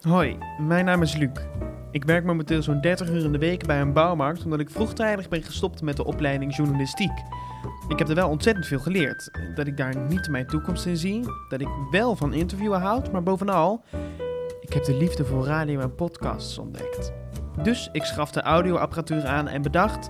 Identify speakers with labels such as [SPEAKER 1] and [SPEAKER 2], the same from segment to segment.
[SPEAKER 1] Hoi, mijn naam is Luc. Ik werk momenteel zo'n 30 uur in de week bij een bouwmarkt omdat ik vroegtijdig ben gestopt met de opleiding journalistiek. Ik heb er wel ontzettend veel geleerd. Dat ik daar niet mijn toekomst in zie, dat ik wel van interviewen houd, maar bovenal, ik heb de liefde voor radio en podcasts ontdekt. Dus ik schaf de audioapparatuur aan en bedacht,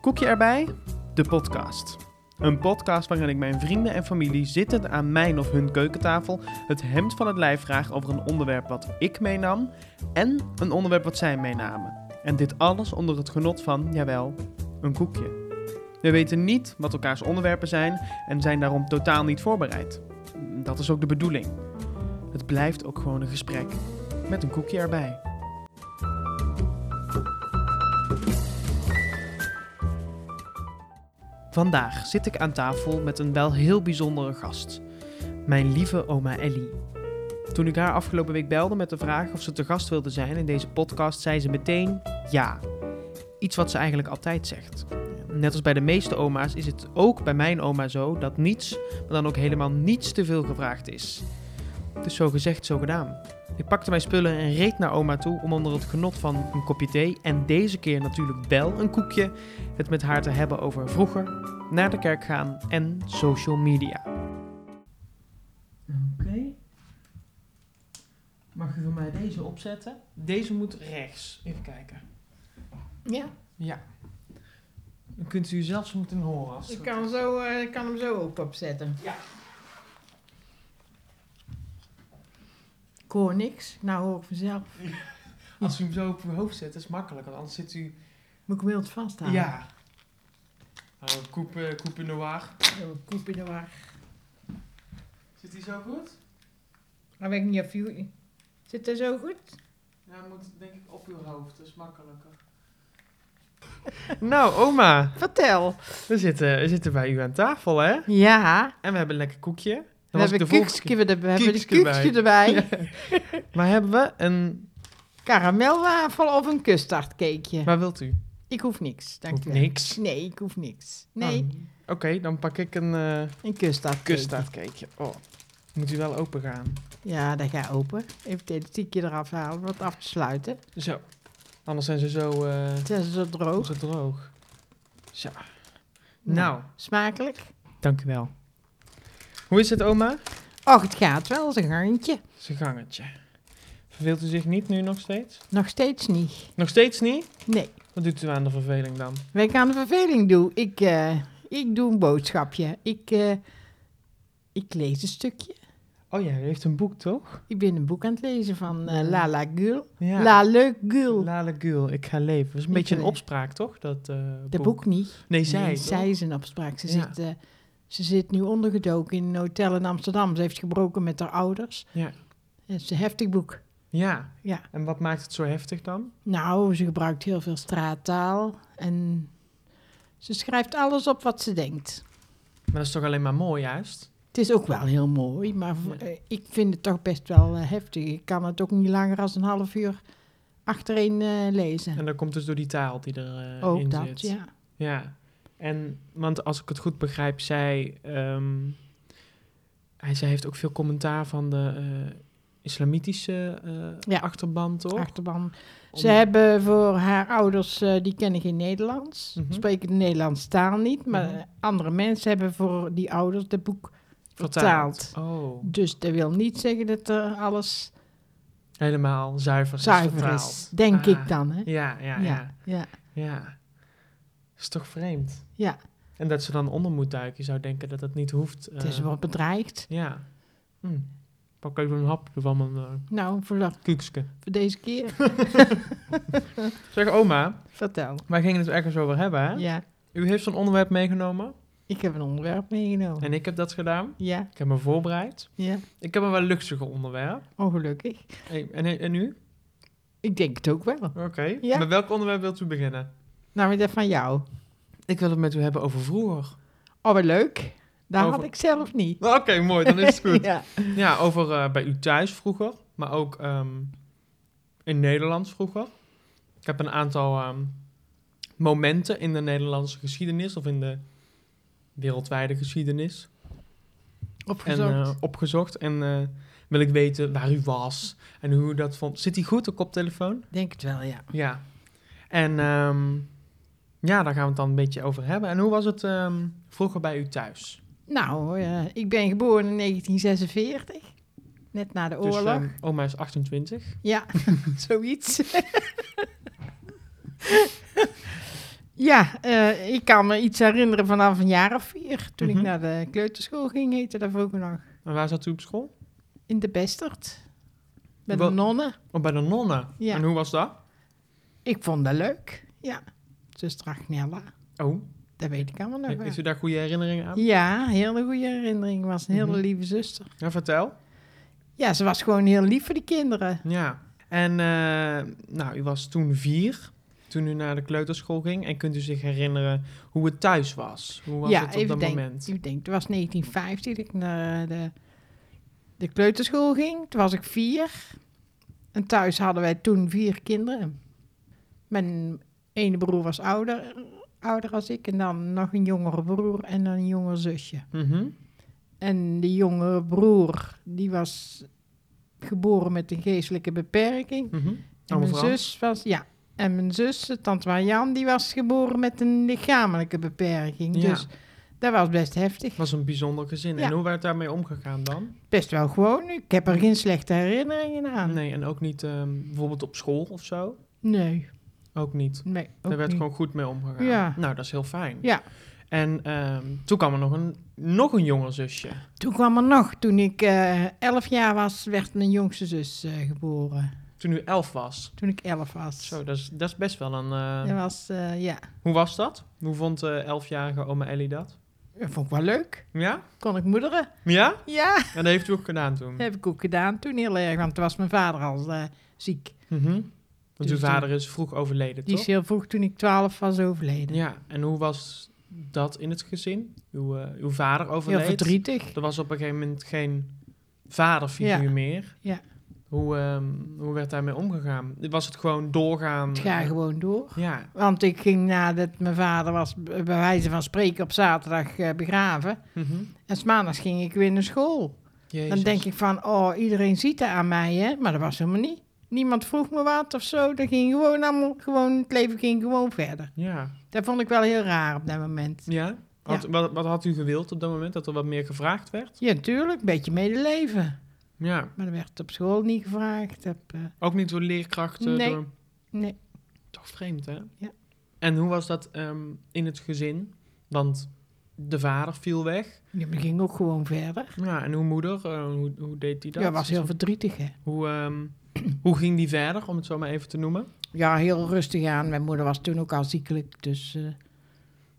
[SPEAKER 1] koekje erbij, de podcast. Een podcast waarin ik mijn vrienden en familie zittend aan mijn of hun keukentafel het hemd van het lijf vraag over een onderwerp wat ik meenam en een onderwerp wat zij meenamen. En dit alles onder het genot van, jawel, een koekje. We weten niet wat elkaars onderwerpen zijn en zijn daarom totaal niet voorbereid. Dat is ook de bedoeling. Het blijft ook gewoon een gesprek met een koekje erbij. Vandaag zit ik aan tafel met een wel heel bijzondere gast. Mijn lieve oma Ellie. Toen ik haar afgelopen week belde met de vraag of ze te gast wilde zijn in deze podcast, zei ze meteen ja. Iets wat ze eigenlijk altijd zegt. Net als bij de meeste oma's is het ook bij mijn oma zo dat niets, maar dan ook helemaal niets te veel gevraagd is. Dus zo gezegd, zo gedaan. Ik pakte mijn spullen en reed naar oma toe om onder het genot van een kopje thee en deze keer natuurlijk wel een koekje het met haar te hebben over vroeger, naar de kerk gaan en social media. Oké. Mag u voor mij deze opzetten? Deze moet rechts. Even kijken.
[SPEAKER 2] Ja,
[SPEAKER 1] Ja. Dan kunt u zelfs moeten horen. Als
[SPEAKER 2] ik kan, zo, eh, ik kan hem zo ook opzetten.
[SPEAKER 1] Ja.
[SPEAKER 2] Ik hoor niks, nou hoor ik vanzelf.
[SPEAKER 1] Als u hem zo op uw hoofd zet, is makkelijk. Want anders zit u...
[SPEAKER 2] Moet ik hem wild vasthouden?
[SPEAKER 1] Ja. Nou, coupe, coupe noir.
[SPEAKER 2] Zo, Koep in de war.
[SPEAKER 1] Zit hij zo goed?
[SPEAKER 2] Maar weet ik niet of jullie... Zit dat zo goed?
[SPEAKER 1] Ja, hij moet denk ik op uw hoofd. Dat is makkelijker. Nou, oma.
[SPEAKER 2] Vertel.
[SPEAKER 1] We zitten, we zitten bij u aan tafel, hè?
[SPEAKER 2] Ja,
[SPEAKER 1] En we hebben een lekker koekje. Dat
[SPEAKER 2] we
[SPEAKER 1] was
[SPEAKER 2] hebben
[SPEAKER 1] de
[SPEAKER 2] een
[SPEAKER 1] vorige
[SPEAKER 2] kuksje erbij. We hebben een
[SPEAKER 1] Kuksje erbij.
[SPEAKER 2] kuksje erbij.
[SPEAKER 1] keer. Maar hebben we een...
[SPEAKER 2] Karamelwafel of een custardcakeje.
[SPEAKER 1] Waar wilt u?
[SPEAKER 2] Ik hoef niks, dank
[SPEAKER 1] Hoeft
[SPEAKER 2] u wel.
[SPEAKER 1] niks.
[SPEAKER 2] Nee, ik hoef niks. Nee,
[SPEAKER 1] Nou, Oké, dan pak ik een eh
[SPEAKER 2] een custardcakeje.
[SPEAKER 1] custardcakeje. Oh, moet u wel open gaan.
[SPEAKER 2] Ja, dat ga open. Even het elastiekje eraf halen om het af te sluiten.
[SPEAKER 1] Zo. Anders zijn ze zo, eh,
[SPEAKER 2] Het is zo droog.
[SPEAKER 1] zo droog. Zo. Nou,
[SPEAKER 2] Smakelijk.
[SPEAKER 1] dank u wel. Hoe is het, oma?
[SPEAKER 2] Och, het gaat wel, als een garntje.
[SPEAKER 1] Zijn gangetje. Verveelt u zich niet nu nog steeds?
[SPEAKER 2] Nog steeds niet.
[SPEAKER 1] Nog steeds niet?
[SPEAKER 2] Nee.
[SPEAKER 1] Wat doet u aan de verveling dan?
[SPEAKER 2] Wij gaan de verveling doen. Ik, eh, ik doe een boodschapje. Ik, eh, ik lees een stukje.
[SPEAKER 1] Oh ja, u heeft een boek, toch?
[SPEAKER 2] Ik ben een boek aan het lezen van eh,
[SPEAKER 1] Ja.
[SPEAKER 2] Lala Gul.
[SPEAKER 1] Ja.
[SPEAKER 2] Lala Gul.
[SPEAKER 1] Lale Gul, ik ga leven. Dat is een
[SPEAKER 2] Ik
[SPEAKER 1] beetje een
[SPEAKER 2] leef.
[SPEAKER 1] opspraak, toch? Dat eh,
[SPEAKER 2] Dat boek niet.
[SPEAKER 1] Nee, zij.
[SPEAKER 2] Nee,
[SPEAKER 1] toch?
[SPEAKER 2] zij is een opspraak. Ze,
[SPEAKER 1] Ja.
[SPEAKER 2] zit, eh, ze zit nu ondergedoken in een hotel in Amsterdam. Ze heeft gebroken met haar ouders.
[SPEAKER 1] Ja.
[SPEAKER 2] Het is een heftig boek.
[SPEAKER 1] Ja.
[SPEAKER 2] Ja.
[SPEAKER 1] En wat maakt het zo heftig dan?
[SPEAKER 2] Nou, ze gebruikt heel veel straattaal. En ze schrijft alles op wat ze denkt.
[SPEAKER 1] Maar dat is toch alleen maar mooi, juist?
[SPEAKER 2] Het is ook wel heel mooi, maar v-
[SPEAKER 1] Ja.
[SPEAKER 2] eh, ik vind het toch best wel eh, heftig. Ik kan het ook niet langer dan een half uur achtereen eh, lezen.
[SPEAKER 1] En dat komt dus door die taal die er eh in
[SPEAKER 2] ook Oh, dat,
[SPEAKER 1] zit.
[SPEAKER 2] ja.
[SPEAKER 1] Ja. En, want als ik het goed begrijp, zij... ehm, hij, zij heeft ook veel commentaar van de eh, islamitische eh,
[SPEAKER 2] Ja.
[SPEAKER 1] achterban, toch?
[SPEAKER 2] Achterban.
[SPEAKER 1] Om-
[SPEAKER 2] Ze hebben voor haar ouders, eh, die kennen geen Nederlands,
[SPEAKER 1] Mhm.
[SPEAKER 2] spreken de Nederlandse taal niet, maar
[SPEAKER 1] Mhm.
[SPEAKER 2] eh, andere mensen hebben voor die ouders het boek vertaald.
[SPEAKER 1] vertaald. Oh,
[SPEAKER 2] Dus dat wil niet zeggen dat er alles
[SPEAKER 1] helemaal zuiver, is
[SPEAKER 2] zuiver
[SPEAKER 1] vertaald.
[SPEAKER 2] is, denk
[SPEAKER 1] Ah.
[SPEAKER 2] ik dan. Hè?
[SPEAKER 1] Ja, ja, ja.
[SPEAKER 2] ja.
[SPEAKER 1] Ja. Is toch vreemd?
[SPEAKER 2] Ja.
[SPEAKER 1] En dat ze dan onder moet duiken. Je zou denken dat dat niet hoeft.
[SPEAKER 2] Het is
[SPEAKER 1] eh,
[SPEAKER 2] wel bedreigd.
[SPEAKER 1] Ja. Hm. Pak even een hapje van mijn eh,
[SPEAKER 2] Nou, voor, dat-
[SPEAKER 1] kuekske.
[SPEAKER 2] voor deze keer,
[SPEAKER 1] Zeg oma,
[SPEAKER 2] vertel.
[SPEAKER 1] wij gingen het ergens over hebben hè?
[SPEAKER 2] Ja,
[SPEAKER 1] U heeft zo'n onderwerp meegenomen.
[SPEAKER 2] ik heb een onderwerp meegenomen.
[SPEAKER 1] En ik heb dat gedaan.
[SPEAKER 2] Ja,
[SPEAKER 1] Ik heb me voorbereid.
[SPEAKER 2] ja,
[SPEAKER 1] Ik heb een wel luchtiger onderwerp.
[SPEAKER 2] ongelukkig.
[SPEAKER 1] En, en, en u?
[SPEAKER 2] Ik denk het ook wel.
[SPEAKER 1] Oké.
[SPEAKER 2] Ja.
[SPEAKER 1] Met welk onderwerp wilt u beginnen?
[SPEAKER 2] Nou, maar dat van jou.
[SPEAKER 1] Ik wil het met u hebben over vroeger.
[SPEAKER 2] Oh, wat leuk. Daar
[SPEAKER 1] Over-
[SPEAKER 2] had ik zelf niet.
[SPEAKER 1] Nou, Oké, mooi. Dan is het goed.
[SPEAKER 2] Ja.
[SPEAKER 1] Ja, over eh, bij u thuis vroeger, maar ook ehm, in Nederland vroeger. Ik heb een aantal ehm, momenten in de Nederlandse geschiedenis of in de wereldwijde geschiedenis En,
[SPEAKER 2] Opgezocht.
[SPEAKER 1] eh, opgezocht. En eh, wil ik weten waar u was en hoe u dat vond. Zit hij goed, de koptelefoon?
[SPEAKER 2] Denk het wel, ja.
[SPEAKER 1] Ja. En ehm, ja, daar gaan we het dan een beetje over hebben. En hoe was het ehm, vroeger bij u thuis?
[SPEAKER 2] Nou, eh, ik ben geboren in 1946. Net na de
[SPEAKER 1] Dus,
[SPEAKER 2] oorlog.
[SPEAKER 1] ehm, oma is 28.
[SPEAKER 2] Ja, zoiets. ja, eh, ik kan me iets herinneren vanaf een jaar of vier. Toen
[SPEAKER 1] Mhm.
[SPEAKER 2] ik naar de kleuterschool ging, heette dat vroeger nog.
[SPEAKER 1] En waar zat u op school?
[SPEAKER 2] In de Bestert. Met
[SPEAKER 1] Wat-
[SPEAKER 2] de nonnen.
[SPEAKER 1] Oh, bij de nonnen.
[SPEAKER 2] Ja.
[SPEAKER 1] En hoe was dat?
[SPEAKER 2] Ik vond dat leuk. Ja. Zuster Agnella.
[SPEAKER 1] Oh,
[SPEAKER 2] Dat weet ik allemaal nog wel.
[SPEAKER 1] Eh, is u daar goede herinneringen aan?
[SPEAKER 2] Ja, hele goede herinnering. Was een hele
[SPEAKER 1] Mhm.
[SPEAKER 2] lieve zuster.
[SPEAKER 1] Ja, vertel.
[SPEAKER 2] Ja, ze was gewoon heel lief voor de kinderen.
[SPEAKER 1] Ja. En eh, nou, u was toen vier, toen u naar de kleuterschool ging. En kunt u zich herinneren hoe het thuis was? Hoe was het op dat
[SPEAKER 2] denk,
[SPEAKER 1] moment?
[SPEAKER 2] Ik denk, het was 1950 dat ik naar de, de kleuterschool ging. Toen was ik vier. En thuis hadden wij toen vier kinderen. Mijn ene broer was ouder, ouder als ik. En dan nog een jongere broer en dan een jonger zusje.
[SPEAKER 1] Mhm.
[SPEAKER 2] En die jongere broer, die was geboren met een geestelijke beperking.
[SPEAKER 1] Mhm.
[SPEAKER 2] En
[SPEAKER 1] Allemaal
[SPEAKER 2] mijn
[SPEAKER 1] Frans?
[SPEAKER 2] zus was, ja. En mijn zus, eh, tante Marjan, die was geboren met een lichamelijke beperking.
[SPEAKER 1] Ja.
[SPEAKER 2] Dus dat was best heftig.
[SPEAKER 1] was een bijzonder gezin.
[SPEAKER 2] Ja.
[SPEAKER 1] En hoe werd daarmee omgegaan dan?
[SPEAKER 2] Best wel gewoon. Ik heb er geen slechte herinneringen aan.
[SPEAKER 1] Nee, en ook niet ehm, bijvoorbeeld op school of zo?
[SPEAKER 2] Nee,
[SPEAKER 1] Ook niet.
[SPEAKER 2] nee, ook
[SPEAKER 1] Daar werd
[SPEAKER 2] niet.
[SPEAKER 1] gewoon goed mee omgegaan.
[SPEAKER 2] Ja.
[SPEAKER 1] Nou, dat is heel fijn.
[SPEAKER 2] Ja.
[SPEAKER 1] En ehm, toen kwam er nog een, nog een jonger zusje.
[SPEAKER 2] Toen kwam er nog, toen ik eh, elf jaar was, werd mijn jongste zus eh, geboren.
[SPEAKER 1] Toen u elf was.
[SPEAKER 2] Toen ik elf was.
[SPEAKER 1] Zo, dat is, dat is best wel een... eh,
[SPEAKER 2] Dat was, eh, ja,
[SPEAKER 1] Hoe was dat? Hoe vond eh elfjarige oma Ellie dat?
[SPEAKER 2] dat vond ik wel leuk.
[SPEAKER 1] Ja?
[SPEAKER 2] Kon ik moederen.
[SPEAKER 1] Ja?
[SPEAKER 2] Ja,
[SPEAKER 1] En dat heeft u ook gedaan toen?
[SPEAKER 2] dat heb ik ook gedaan toen heel erg, want toen was mijn vader al eh, ziek.
[SPEAKER 1] Mhm. Want uw
[SPEAKER 2] Dus toen-
[SPEAKER 1] vader is vroeg overleden,
[SPEAKER 2] Die
[SPEAKER 1] toch?
[SPEAKER 2] is heel vroeg toen ik twaalf was overleden.
[SPEAKER 1] Ja, en hoe was dat in het gezin? Uw, eh, uw vader
[SPEAKER 2] heel
[SPEAKER 1] overleed?
[SPEAKER 2] verdrietig.
[SPEAKER 1] Er was op een gegeven moment geen vaderfiguur
[SPEAKER 2] Ja.
[SPEAKER 1] meer.
[SPEAKER 2] Ja.
[SPEAKER 1] Hoe, ehm, hoe werd daarmee omgegaan? Was het gewoon doorgaan?
[SPEAKER 2] Het ga gewoon door.
[SPEAKER 1] Ja.
[SPEAKER 2] Want ik ging nadat mijn vader was, b- bij wijze van spreken, op zaterdag eh, begraven.
[SPEAKER 1] Mhm.
[SPEAKER 2] En 's maandags ging ik weer naar school. Dan
[SPEAKER 1] Jezus.
[SPEAKER 2] denk ik van, oh, iedereen ziet dat aan mij, hè? Maar dat was helemaal niet. Niemand vroeg me wat of zo. Dat ging gewoon allemaal, gewoon, het leven ging gewoon verder.
[SPEAKER 1] Ja.
[SPEAKER 2] Dat vond ik wel heel raar op dat moment.
[SPEAKER 1] ja? Had, Wat, wat had u gewild op dat moment? Dat er wat meer gevraagd werd?
[SPEAKER 2] Ja, natuurlijk, een beetje medeleven.
[SPEAKER 1] Ja.
[SPEAKER 2] Maar dat werd op school niet gevraagd. Op, eh,
[SPEAKER 1] Ook niet door leerkrachten?
[SPEAKER 2] Nee.
[SPEAKER 1] Door...
[SPEAKER 2] nee.
[SPEAKER 1] Toch vreemd, hè?
[SPEAKER 2] Ja.
[SPEAKER 1] En hoe was dat ehm, in het gezin? Want de vader viel weg.
[SPEAKER 2] Ja, maar dat ging ook gewoon verder.
[SPEAKER 1] Ja, en uw moeder, eh, hoe, hoe deed die dat?
[SPEAKER 2] Dat was heel verdrietig, hè?
[SPEAKER 1] Hoe, ehm, hoe ging die verder, om het zo maar even te noemen?
[SPEAKER 2] Ja, heel rustig aan. Mijn moeder was toen ook al ziekelijk, dus... eh,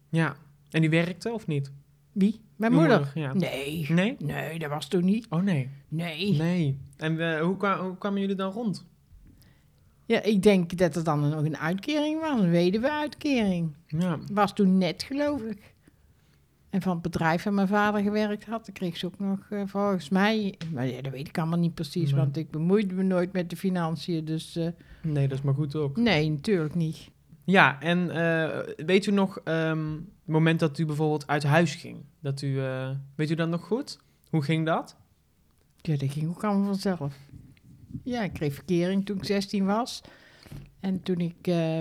[SPEAKER 1] Ja. En die werkte of niet?
[SPEAKER 2] wie? Mijn
[SPEAKER 1] Uw
[SPEAKER 2] moeder?
[SPEAKER 1] Ja.
[SPEAKER 2] Nee.
[SPEAKER 1] Nee?
[SPEAKER 2] Nee, dat was toen niet.
[SPEAKER 1] Oh nee.
[SPEAKER 2] Nee.
[SPEAKER 1] Nee. En eh, hoe, kwa- hoe kwamen jullie dan rond?
[SPEAKER 2] Ja, ik denk dat er dan nog een uitkering was, een weduwe-uitkering.
[SPEAKER 1] Ja.
[SPEAKER 2] Was toen net, geloof ik. En van het bedrijf waar mijn vader gewerkt had, dan kreeg ze ook nog eh, volgens mij... Maar ja, dat weet ik allemaal niet precies,
[SPEAKER 1] Nee.
[SPEAKER 2] want ik bemoeide me nooit met de financiën. Dus eh,
[SPEAKER 1] Nee, dat is maar goed ook.
[SPEAKER 2] nee, natuurlijk niet.
[SPEAKER 1] Ja, en eh, weet u nog ehm, het moment dat u bijvoorbeeld uit huis ging? Dat u, eh, weet u dat nog goed? Hoe ging dat?
[SPEAKER 2] Ja, dat ging ook allemaal vanzelf. Ja, ik kreeg verkering toen ik 16 was. En toen ik eh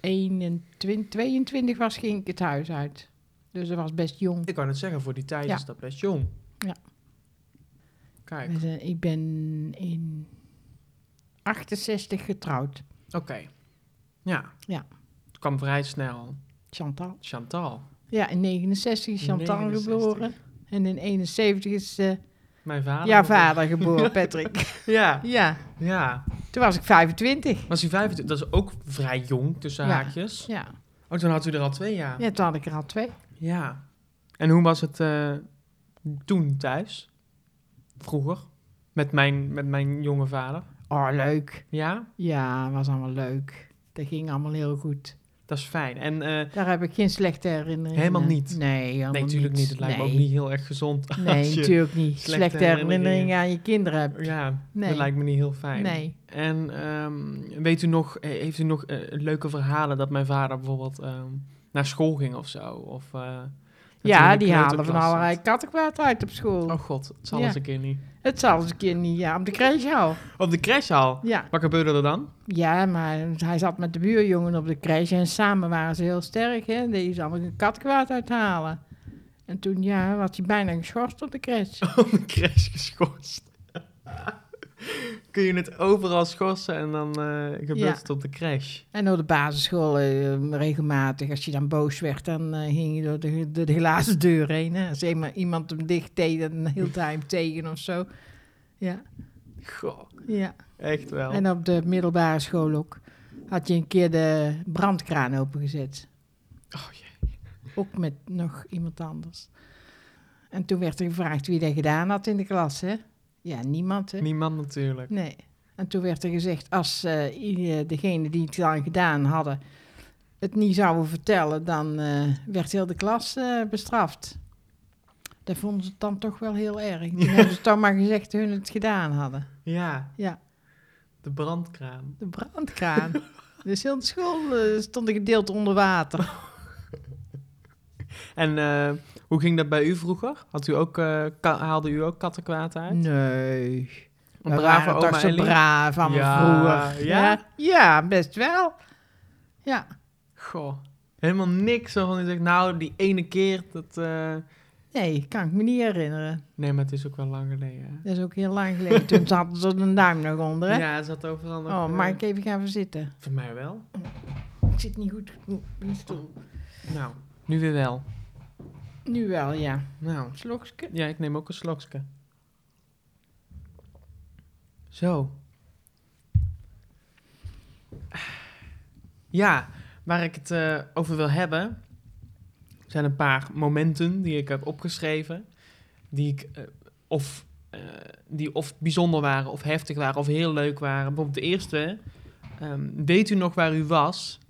[SPEAKER 2] 21, 22 was, ging ik het huis uit. Dus dat was best jong.
[SPEAKER 1] Ik kan het zeggen, voor die tijd
[SPEAKER 2] Ja.
[SPEAKER 1] is dat best jong.
[SPEAKER 2] Ja.
[SPEAKER 1] Kijk,
[SPEAKER 2] We zijn- Dus, eh, ik ben in 68 getrouwd.
[SPEAKER 1] oké. Ja.
[SPEAKER 2] Ja.
[SPEAKER 1] Het kwam vrij snel.
[SPEAKER 2] Chantal.
[SPEAKER 1] Chantal,
[SPEAKER 2] Ja, in 69 is Chantal
[SPEAKER 1] 69.
[SPEAKER 2] geboren. En in 71 is eh
[SPEAKER 1] mijn vader.
[SPEAKER 2] jouw vader geboren, Patrick.
[SPEAKER 1] Ah, Ja,
[SPEAKER 2] ja,
[SPEAKER 1] ja.
[SPEAKER 2] toen was ik 25.
[SPEAKER 1] Was u 25? Dat is ook vrij jong, tussen
[SPEAKER 2] Ja.
[SPEAKER 1] haakjes.
[SPEAKER 2] Ja.
[SPEAKER 1] Oh, toen had u er al twee jaar.
[SPEAKER 2] ja, toen had ik er al twee.
[SPEAKER 1] Ja. En hoe was het eh, toen thuis? Vroeger? Met mijn, met mijn jonge vader?
[SPEAKER 2] Oh, leuk.
[SPEAKER 1] Ja,
[SPEAKER 2] Ja, was allemaal leuk. Dat ging allemaal heel goed.
[SPEAKER 1] dat is fijn. En eh,
[SPEAKER 2] Daar heb ik geen slechte herinneringen
[SPEAKER 1] Helemaal
[SPEAKER 2] aan.
[SPEAKER 1] niet?
[SPEAKER 2] Nee, helemaal
[SPEAKER 1] nee, natuurlijk niet. Het lijkt me ook niet heel erg gezond.
[SPEAKER 2] Nee,
[SPEAKER 1] als
[SPEAKER 2] nee
[SPEAKER 1] je-
[SPEAKER 2] natuurlijk niet.
[SPEAKER 1] slechte
[SPEAKER 2] Slechte,
[SPEAKER 1] herinneringen-
[SPEAKER 2] herinneringen aan je kinderen hebt.
[SPEAKER 1] Ja,
[SPEAKER 2] Nee.
[SPEAKER 1] dat lijkt me niet heel fijn.
[SPEAKER 2] Nee.
[SPEAKER 1] En ehm, weet u nog, eh, heeft u nog eh, leuke verhalen dat mijn vader bijvoorbeeld ehm, naar school ging of zo? Of eh,
[SPEAKER 2] Ja,
[SPEAKER 1] Natuurlijk
[SPEAKER 2] die halen van
[SPEAKER 1] kleuterklas
[SPEAKER 2] allerlei kattenkwaad uit op school.
[SPEAKER 1] Oh god, het zal
[SPEAKER 2] Ja.
[SPEAKER 1] eens een keer niet.
[SPEAKER 2] Het zal eens een keer niet, ja, op de crèchehaal.
[SPEAKER 1] Op de crash al.
[SPEAKER 2] Ja.
[SPEAKER 3] Wat gebeurde er dan?
[SPEAKER 2] ja, maar hij zat met de buurjongen op de crèche en samen waren ze heel sterk. Hè? Die zal er een kattenkwaad uithalen. En toen, ja, was hij bijna geschorst op de crèche.
[SPEAKER 1] Op de crash geschorst. Kun je het overal schorsen en dan eh, gebeurt
[SPEAKER 2] Ja.
[SPEAKER 1] het op de crash.
[SPEAKER 2] En op de basisschool eh, regelmatig, als je dan boos werd, dan eh, hing je door de, de, de glazen deur heen. Hè? Als eenmaal iemand hem dicht deed, dan hield hij hem tegen of zo. Ja,
[SPEAKER 1] Goh,
[SPEAKER 2] ja.
[SPEAKER 1] echt wel.
[SPEAKER 2] En op de middelbare school ook had je een keer de brandkraan opengezet.
[SPEAKER 1] Oh jee.
[SPEAKER 2] Ook met nog iemand anders. En toen werd er gevraagd wie dat gedaan had in de klas, hè? Ja, niemand, hè?
[SPEAKER 1] Niemand natuurlijk.
[SPEAKER 2] Nee. En toen werd er gezegd, als eh, i- eh, degene die het dan gedaan hadden... het niet zouden vertellen, dan eh, werd heel de klas eh, bestraft. Dat vonden ze dan toch wel heel erg. Toen hebben ze toch maar gezegd dat hun het gedaan hadden.
[SPEAKER 1] Ja,
[SPEAKER 2] Ja,
[SPEAKER 1] de brandkraan.
[SPEAKER 2] de brandkraan. dus heel de school eh, stond een gedeelte onder water.
[SPEAKER 1] En eh, hoe ging dat bij u vroeger? Had u ook, eh, ka- haalde u ook kattenkwaad uit?
[SPEAKER 2] Nee.
[SPEAKER 1] Een
[SPEAKER 2] We
[SPEAKER 1] brave
[SPEAKER 2] waren toch
[SPEAKER 1] oma
[SPEAKER 2] zo
[SPEAKER 1] Ellie?
[SPEAKER 2] braaf van
[SPEAKER 1] Ja,
[SPEAKER 2] vroeger.
[SPEAKER 1] ja?
[SPEAKER 2] ja? Ja, best wel. Ja.
[SPEAKER 1] Goh, helemaal niks waarvan u zegt, nou, die ene keer, dat... eh,
[SPEAKER 2] Nee, kan ik me niet herinneren.
[SPEAKER 1] Nee, maar het is ook wel lang geleden, hè?
[SPEAKER 2] Dat is ook heel lang geleden. Toen zaten ze er een duim nog onder, hè?
[SPEAKER 1] Ja, het zat overal nog...
[SPEAKER 2] oh,
[SPEAKER 1] eh,
[SPEAKER 2] mag ik even gaan verzitten?
[SPEAKER 1] Voor mij wel.
[SPEAKER 2] Ik zit niet goed op mijn stoel.
[SPEAKER 1] Nou, nu weer wel.
[SPEAKER 2] Nu wel, ja.
[SPEAKER 1] Nou,
[SPEAKER 2] Slokske.
[SPEAKER 1] ja, ik neem ook een slokske. Zo. Ja, waar ik het eh, over wil hebben... zijn een paar momenten die ik heb opgeschreven... die ik... eh, of, eh, die of bijzonder waren, of heftig waren, of heel leuk waren. Bijvoorbeeld de eerste... ehm, weet u nog waar u was...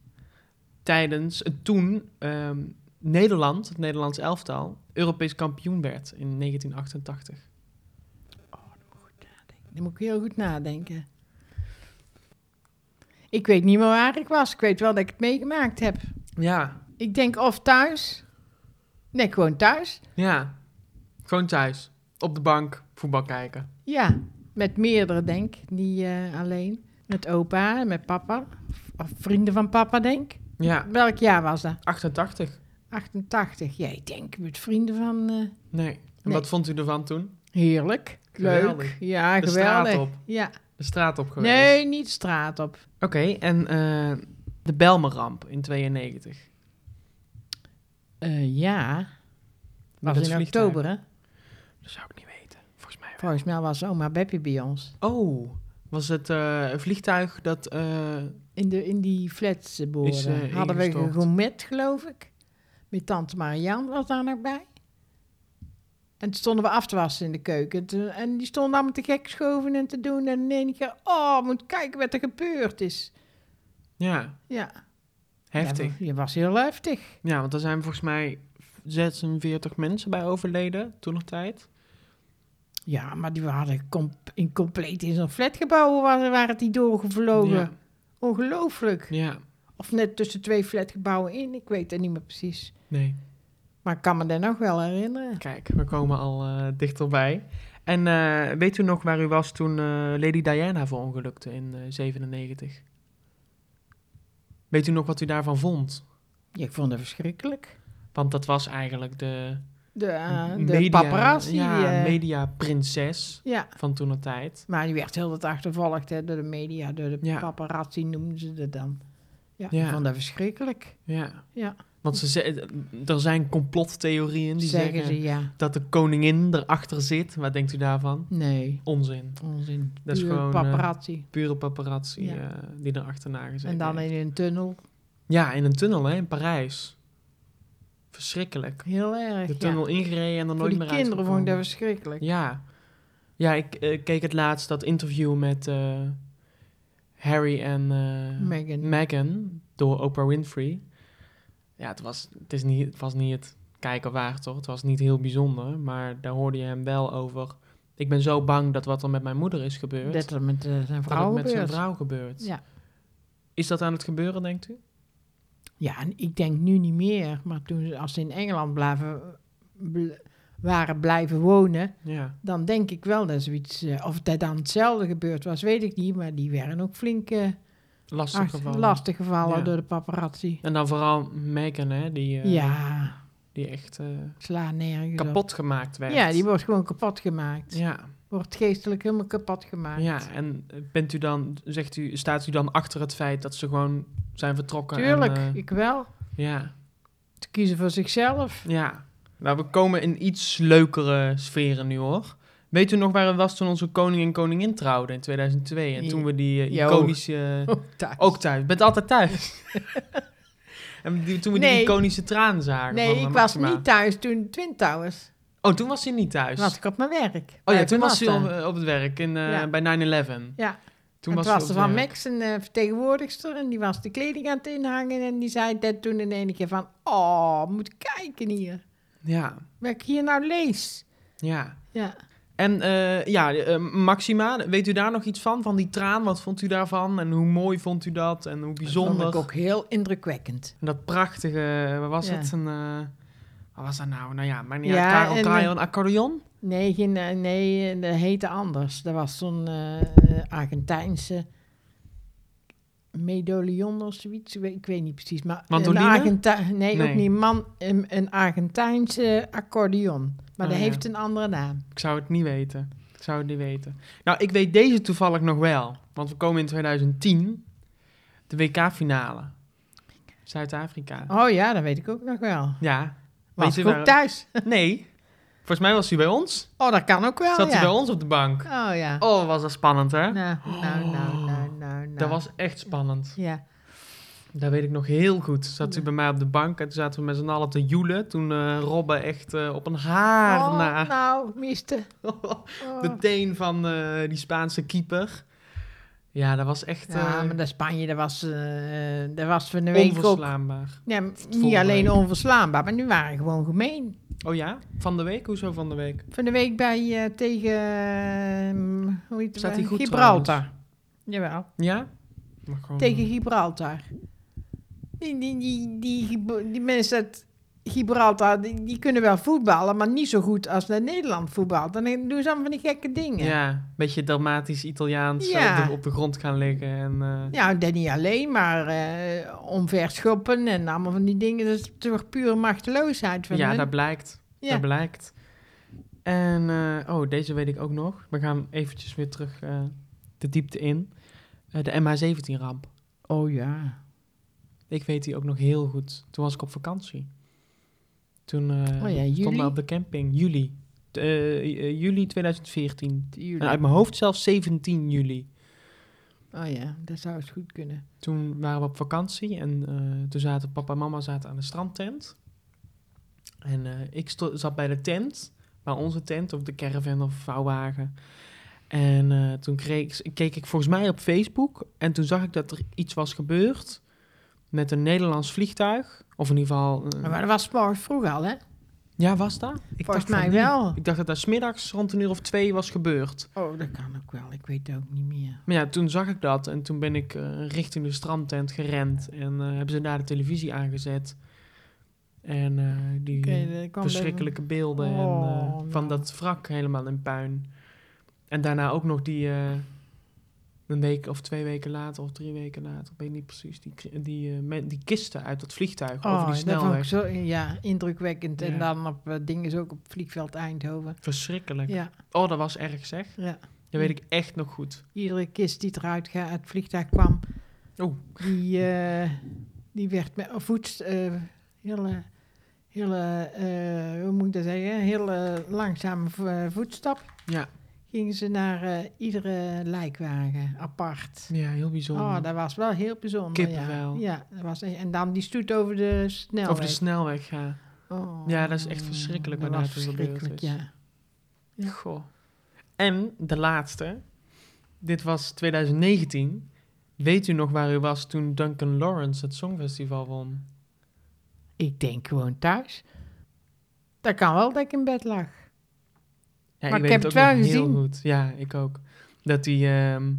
[SPEAKER 1] tijdens het toen... ehm, Nederland, het Nederlands elftal, Europees kampioen werd in 1988.
[SPEAKER 2] Dan moet ik heel goed nadenken. Ik weet niet meer waar ik was. Ik weet wel dat ik het meegemaakt heb.
[SPEAKER 1] Ja,
[SPEAKER 2] Ik denk of thuis. Nee, gewoon thuis.
[SPEAKER 1] ja. Gewoon thuis, op de bank, voetbal kijken.
[SPEAKER 2] Ja, met meerdere, denk ik. Niet eh, alleen. Met opa en met papa. Of vrienden van papa, denk ik.
[SPEAKER 1] Ja,
[SPEAKER 2] Welk jaar was dat?
[SPEAKER 1] 88.
[SPEAKER 2] 88. Ja, ik denk met vrienden van... eh,
[SPEAKER 1] Nee. En
[SPEAKER 2] Nee.
[SPEAKER 1] wat vond u ervan toen?
[SPEAKER 2] Heerlijk. Leuk.
[SPEAKER 1] Geweldig.
[SPEAKER 2] Ja,
[SPEAKER 1] De
[SPEAKER 2] geweldig.
[SPEAKER 1] straat op.
[SPEAKER 2] Ja.
[SPEAKER 1] De straat op geweest.
[SPEAKER 2] Nee, niet de straat op.
[SPEAKER 1] Oké, en eh, de Belmeramp in 92.
[SPEAKER 2] Eh, ja.
[SPEAKER 1] Met
[SPEAKER 2] Was
[SPEAKER 1] het
[SPEAKER 2] in
[SPEAKER 1] vliegtuig.
[SPEAKER 2] oktober, hè?
[SPEAKER 1] Dat zou ik niet weten, volgens mij wel.
[SPEAKER 2] Volgens mij was oma Beppie bij ons.
[SPEAKER 1] Oh, was het eh, een vliegtuig dat... eh,
[SPEAKER 2] In, de, in die flats eh, behoorde.
[SPEAKER 1] Is, eh,
[SPEAKER 2] Hadden we
[SPEAKER 1] ingestort.
[SPEAKER 2] gegourmet, geloof ik. Met tante Marianne was daar nog bij. En toen stonden we af te wassen in de keuken. Toen- En die stonden allemaal te gek schoven en te doen. En in één keer, oh, moet kijken wat er gebeurd is.
[SPEAKER 1] ja,
[SPEAKER 2] Ja.
[SPEAKER 1] heftig.
[SPEAKER 2] Ja, je was heel heftig.
[SPEAKER 1] Ja, want er zijn volgens mij 46 mensen bij overleden toen nog tijd.
[SPEAKER 2] Ja, maar die waren com- in compleet in zo'n flatgebouw waren, waren die doorgevlogen.
[SPEAKER 1] Ja,
[SPEAKER 2] Ongelooflijk.
[SPEAKER 1] ja,
[SPEAKER 2] Of net tussen twee flatgebouwen in, ik weet het niet meer precies.
[SPEAKER 1] nee.
[SPEAKER 2] Maar ik kan me dat nog wel herinneren.
[SPEAKER 1] Kijk, we komen al eh, dichterbij. En eh, weet u nog waar u was toen eh, Lady Diana verongelukte in eh, 97? Weet u nog wat u daarvan vond?
[SPEAKER 2] Ja, ik vond het verschrikkelijk.
[SPEAKER 1] Want dat was eigenlijk de,
[SPEAKER 2] De, eh, de
[SPEAKER 1] media,
[SPEAKER 2] paparazzi.
[SPEAKER 1] Ja,
[SPEAKER 2] eh,
[SPEAKER 1] mediaprinses
[SPEAKER 2] ja,
[SPEAKER 1] van toen de tijd.
[SPEAKER 2] maar die werd heel wat achtervolgd hè, door de media. Door de
[SPEAKER 1] Ja.
[SPEAKER 2] paparazzi noemden ze dat dan. Ja,
[SPEAKER 1] Ja.
[SPEAKER 2] ik vond dat verschrikkelijk.
[SPEAKER 1] Ja.
[SPEAKER 2] Ja.
[SPEAKER 1] Want ze, ze- er zijn complottheorieën die
[SPEAKER 2] zeggen,
[SPEAKER 1] zeggen
[SPEAKER 2] ze, ja.
[SPEAKER 1] dat de koningin erachter zit. Wat denkt u daarvan?
[SPEAKER 2] Nee,
[SPEAKER 1] Onzin.
[SPEAKER 2] onzin.
[SPEAKER 1] Dat is
[SPEAKER 2] Pure
[SPEAKER 1] gewoon, eh,
[SPEAKER 2] paparazzi.
[SPEAKER 1] Pure paparazzi
[SPEAKER 2] Ja.
[SPEAKER 1] eh, die erachterna gezeten
[SPEAKER 2] en dan
[SPEAKER 1] heeft.
[SPEAKER 2] in een tunnel.
[SPEAKER 1] Ja, in een tunnel hè, in Parijs. Verschrikkelijk.
[SPEAKER 2] Heel erg,
[SPEAKER 1] De
[SPEAKER 2] ja.
[SPEAKER 1] tunnel ingereden en er
[SPEAKER 2] Voor
[SPEAKER 1] nooit
[SPEAKER 2] die
[SPEAKER 1] meer
[SPEAKER 2] kinderen vond ik dat
[SPEAKER 1] uitgekomen.
[SPEAKER 2] verschrikkelijk.
[SPEAKER 1] Ja. Ja, ik eh, keek het laatst dat interview met eh, Harry en eh,
[SPEAKER 2] Megan.
[SPEAKER 1] Meghan door Oprah Winfrey. Ja, het was, het, is niet, het was niet het kijken waard, toch? Het was niet heel bijzonder, maar daar hoorde je hem wel over. Ik ben zo bang dat wat er met mijn moeder is gebeurd,
[SPEAKER 2] Dat er met eh, zijn
[SPEAKER 1] dat het
[SPEAKER 2] vrouw
[SPEAKER 1] met zijn
[SPEAKER 2] gebeurt.
[SPEAKER 1] vrouw gebeurt.
[SPEAKER 2] Ja.
[SPEAKER 1] Is dat aan het gebeuren, denkt u?
[SPEAKER 2] Ja, en ik denk nu niet meer. Maar toen, ze- als ze in Engeland blaven, bl- waren blijven wonen,
[SPEAKER 1] Ja.
[SPEAKER 2] dan denk ik wel dat zoiets... eh, of dat dan hetzelfde gebeurd was, weet ik niet. Maar die werden ook flink eh,
[SPEAKER 1] Lastig
[SPEAKER 2] achter-
[SPEAKER 1] geval.
[SPEAKER 2] lastig gevallen
[SPEAKER 1] Ja.
[SPEAKER 2] door de paparazzi.
[SPEAKER 1] En dan vooral Megan, hè, die, eh,
[SPEAKER 2] ja,
[SPEAKER 1] die echt eh,
[SPEAKER 2] sla nergens op.
[SPEAKER 1] kapot gemaakt werd.
[SPEAKER 2] Ja, die wordt gewoon kapot gemaakt.
[SPEAKER 1] Ja,
[SPEAKER 2] Wordt geestelijk helemaal kapot gemaakt.
[SPEAKER 1] ja, en bent u dan, zegt u, staat u dan achter het feit dat ze gewoon zijn vertrokken? en,
[SPEAKER 2] Tuurlijk,
[SPEAKER 1] eh,
[SPEAKER 2] ik wel.
[SPEAKER 1] ja,
[SPEAKER 2] Te kiezen voor zichzelf.
[SPEAKER 1] ja. Nou, we komen in iets leukere sferen nu hoor. Weet u nog waar het was toen onze koning en koningin trouwden in 2002? En
[SPEAKER 2] Ja.
[SPEAKER 1] toen we die eh,
[SPEAKER 2] Ja,
[SPEAKER 1] iconische... Ook thuis. Je bent altijd thuis. en die- toen we die
[SPEAKER 2] Nee.
[SPEAKER 1] iconische traan zagen.
[SPEAKER 2] Nee,
[SPEAKER 1] van, eh,
[SPEAKER 2] ik was
[SPEAKER 1] Maxima.
[SPEAKER 2] niet thuis toen Twin Towers.
[SPEAKER 1] Oh, toen was hij niet thuis.
[SPEAKER 2] Toen was ik op mijn werk.
[SPEAKER 1] oh ja,
[SPEAKER 2] Bij
[SPEAKER 1] toen was hij
[SPEAKER 2] Vermatta.
[SPEAKER 1] op, eh, op het werk in, eh,
[SPEAKER 2] Ja.
[SPEAKER 1] bij 9-11.
[SPEAKER 2] Ja.
[SPEAKER 1] Toen
[SPEAKER 2] En
[SPEAKER 1] was,
[SPEAKER 2] toen
[SPEAKER 1] hij
[SPEAKER 2] was
[SPEAKER 1] op het
[SPEAKER 2] er van
[SPEAKER 1] werk.
[SPEAKER 2] Max een eh, vertegenwoordigster en die was de kleding aan het inhangen. En die zei dat toen in ene keer van, oh, moet kijken hier.
[SPEAKER 1] Ja,
[SPEAKER 2] Wat ik hier nou lees.
[SPEAKER 1] ja.
[SPEAKER 2] Ja.
[SPEAKER 1] En eh, ja, eh, Maxima, weet u daar nog iets van? Van die traan, wat vond u daarvan? En hoe mooi vond u dat? En hoe
[SPEAKER 2] Dat
[SPEAKER 1] bijzonder?
[SPEAKER 2] vond ik ook heel indrukwekkend.
[SPEAKER 1] En dat prachtige, wat was
[SPEAKER 2] Ja.
[SPEAKER 1] het? Een, eh, wat was dat nou? Nou ja, maar niet
[SPEAKER 2] Ja,
[SPEAKER 1] uit. Karel
[SPEAKER 2] en-
[SPEAKER 1] Karel, een accordeon?
[SPEAKER 2] Nee, geen, eh, nee, eh, dat heette anders. Dat was zo'n eh, eh, Argentijnse medaillon of zoiets. Ik weet- Ik weet niet precies. Maar
[SPEAKER 1] Mandoline?
[SPEAKER 2] Een Argentijn, nee,
[SPEAKER 1] Nee.
[SPEAKER 2] ook niet. Man, een, een Argentijnse accordeon. Maar
[SPEAKER 1] Oh,
[SPEAKER 2] dat
[SPEAKER 1] ja.
[SPEAKER 2] heeft een andere naam.
[SPEAKER 1] Ik zou het niet weten. Ik zou het niet weten. Nou, ik weet deze toevallig nog wel. Want we komen in 2010. De WK-finale. Zuid-Afrika.
[SPEAKER 2] Oh ja, dat weet ik ook nog wel.
[SPEAKER 1] Ja.
[SPEAKER 2] Was
[SPEAKER 1] je
[SPEAKER 2] ik ook
[SPEAKER 1] waar-
[SPEAKER 2] thuis.
[SPEAKER 1] Nee. Volgens mij was hij bij ons.
[SPEAKER 2] Oh, dat kan ook wel,
[SPEAKER 1] Zat
[SPEAKER 2] ja.
[SPEAKER 1] hij bij ons op de bank.
[SPEAKER 2] Oh ja.
[SPEAKER 1] Oh, was dat spannend, hè?
[SPEAKER 2] Nou, nou, nou, nou, nou, nou.
[SPEAKER 1] Dat was echt spannend.
[SPEAKER 2] Ja.
[SPEAKER 1] Dat weet ik nog heel goed. Zat hij
[SPEAKER 2] Ja.
[SPEAKER 1] bij mij op de bank en toen zaten we met z'n allen te joelen. Toen eh Robbe echt eh, op een haar
[SPEAKER 2] oh,
[SPEAKER 1] na...
[SPEAKER 2] nou, miste. Oh.
[SPEAKER 1] de teen van eh, die Spaanse keeper. Ja, dat was echt...
[SPEAKER 2] Ja,
[SPEAKER 1] eh,
[SPEAKER 2] maar dat Spanje, dat was, eh, dat was van de week ook
[SPEAKER 1] Onverslaanbaar.
[SPEAKER 2] Ja, m- niet
[SPEAKER 1] Volgende
[SPEAKER 2] alleen
[SPEAKER 1] week.
[SPEAKER 2] onverslaanbaar, maar nu waren gewoon gemeen.
[SPEAKER 1] Oh ja? Van de week? Hoezo van de week?
[SPEAKER 2] Van de week bij eh, tegen ehm, hoe heet het,
[SPEAKER 1] Staat hij goed Oh.
[SPEAKER 2] Gibraltar. Jawel,
[SPEAKER 1] Ja? Maar gewoon-
[SPEAKER 2] tegen Gibraltar. Die, die, die, die, Gib- die mensen uit Gibraltar, die, die kunnen wel voetballen, maar niet zo goed als naar Nederland voetbalt. Dan doen ze allemaal van die gekke dingen.
[SPEAKER 1] Ja, een beetje dramatisch Italiaans eh,
[SPEAKER 2] Ja.
[SPEAKER 1] op, de, op de grond gaan liggen. En, eh,
[SPEAKER 2] Ja, dat niet alleen, maar eh omverschoppen en allemaal van die dingen. Dat is toch pure machteloosheid van
[SPEAKER 1] ja,
[SPEAKER 2] hun?
[SPEAKER 1] dat blijkt.
[SPEAKER 2] Ja.
[SPEAKER 1] Dat blijkt. En, eh, oh, deze weet ik ook nog. We gaan eventjes weer terug eh, de diepte in. Eh, de MH17-ramp.
[SPEAKER 2] Oh ja.
[SPEAKER 1] Ik weet die ook nog heel goed. Toen was ik op vakantie. Toen eh
[SPEAKER 2] Oh
[SPEAKER 1] stonden
[SPEAKER 2] ja, juli?
[SPEAKER 1] we op de camping. Juli. Eh, eh, juli 2014.
[SPEAKER 2] Jullie.
[SPEAKER 1] En uit mijn hoofd zelfs 17 juli.
[SPEAKER 2] Oh ja, dat zou eens goed kunnen.
[SPEAKER 1] toen waren we op vakantie en eh, toen zaten papa en mama zaten aan de strandtent. En eh, ik sto- zat bij de tent, bij onze tent of de caravan of vouwwagen. En eh, toen kreeg, keek ik volgens mij op Facebook en toen zag ik dat er iets was gebeurd met een Nederlands vliegtuig. Of in ieder geval... eh,
[SPEAKER 2] Maar dat was s'morgens vroeg al, hè?
[SPEAKER 1] ja, was dat? Ik
[SPEAKER 2] Volgens
[SPEAKER 1] dacht van
[SPEAKER 2] mij
[SPEAKER 1] niet.
[SPEAKER 2] wel.
[SPEAKER 1] Ik dacht dat dat smiddags rond een uur of twee was gebeurd.
[SPEAKER 2] Oh, dat kan ook wel. Ik weet het ook niet meer.
[SPEAKER 1] Maar ja, toen zag ik dat en toen ben ik eh, richting de strandtent gerend en eh, hebben ze daar de televisie aangezet. En eh, die verschrikkelijke beelden en, eh,
[SPEAKER 2] Oh,
[SPEAKER 1] van
[SPEAKER 2] nou.
[SPEAKER 1] dat wrak helemaal in puin. En daarna ook nog die eh, een week of twee weken later of drie weken later, ik weet niet precies, die, kri- die, eh, me- die kisten uit dat vliegtuig over
[SPEAKER 2] Oh,
[SPEAKER 1] die
[SPEAKER 2] dat vond ik
[SPEAKER 1] snelweg.
[SPEAKER 2] zo ja, indrukwekkend.
[SPEAKER 1] Ja.
[SPEAKER 2] En dan op eh, dingen zo ook op vliegveld Eindhoven.
[SPEAKER 1] Verschrikkelijk.
[SPEAKER 2] Ja,
[SPEAKER 1] Oh, dat was erg zeg.
[SPEAKER 2] ja.
[SPEAKER 1] Dat weet ik echt nog goed.
[SPEAKER 2] Iedere kist die eruit ga, uit het vliegtuig kwam,
[SPEAKER 1] Oh.
[SPEAKER 2] die, eh, die werd met voets... eh hele, hele eh, hoe moet ik dat zeggen? Hele langzame vo- eh, voetstap.
[SPEAKER 1] Ja.
[SPEAKER 2] Gingen ze naar eh, iedere lijkwagen apart.
[SPEAKER 1] Ja, heel bijzonder.
[SPEAKER 2] Oh, dat was wel heel bijzonder.
[SPEAKER 1] Kippenvel.
[SPEAKER 2] Ja, ja dat was, en dan die stoet over de snelweg.
[SPEAKER 1] over de snelweg, ja.
[SPEAKER 2] Oh.
[SPEAKER 1] Ja, dat is echt verschrikkelijk
[SPEAKER 2] Dat
[SPEAKER 1] wat daar
[SPEAKER 2] was
[SPEAKER 1] toen gebeurd
[SPEAKER 2] verschrikkelijk,
[SPEAKER 1] is.
[SPEAKER 2] ja. Ja.
[SPEAKER 1] Goh. En de laatste. Dit was 2019. Weet u nog waar u was toen Duncan Lawrence het Songfestival won?
[SPEAKER 2] Ik denk gewoon thuis. Dat kan wel dat ik in bed lag.
[SPEAKER 1] Ja,
[SPEAKER 2] Maar ik heb het
[SPEAKER 1] nog
[SPEAKER 2] wel gezien.
[SPEAKER 1] Heel goed. Ja, ik ook. Dat, die, ehm,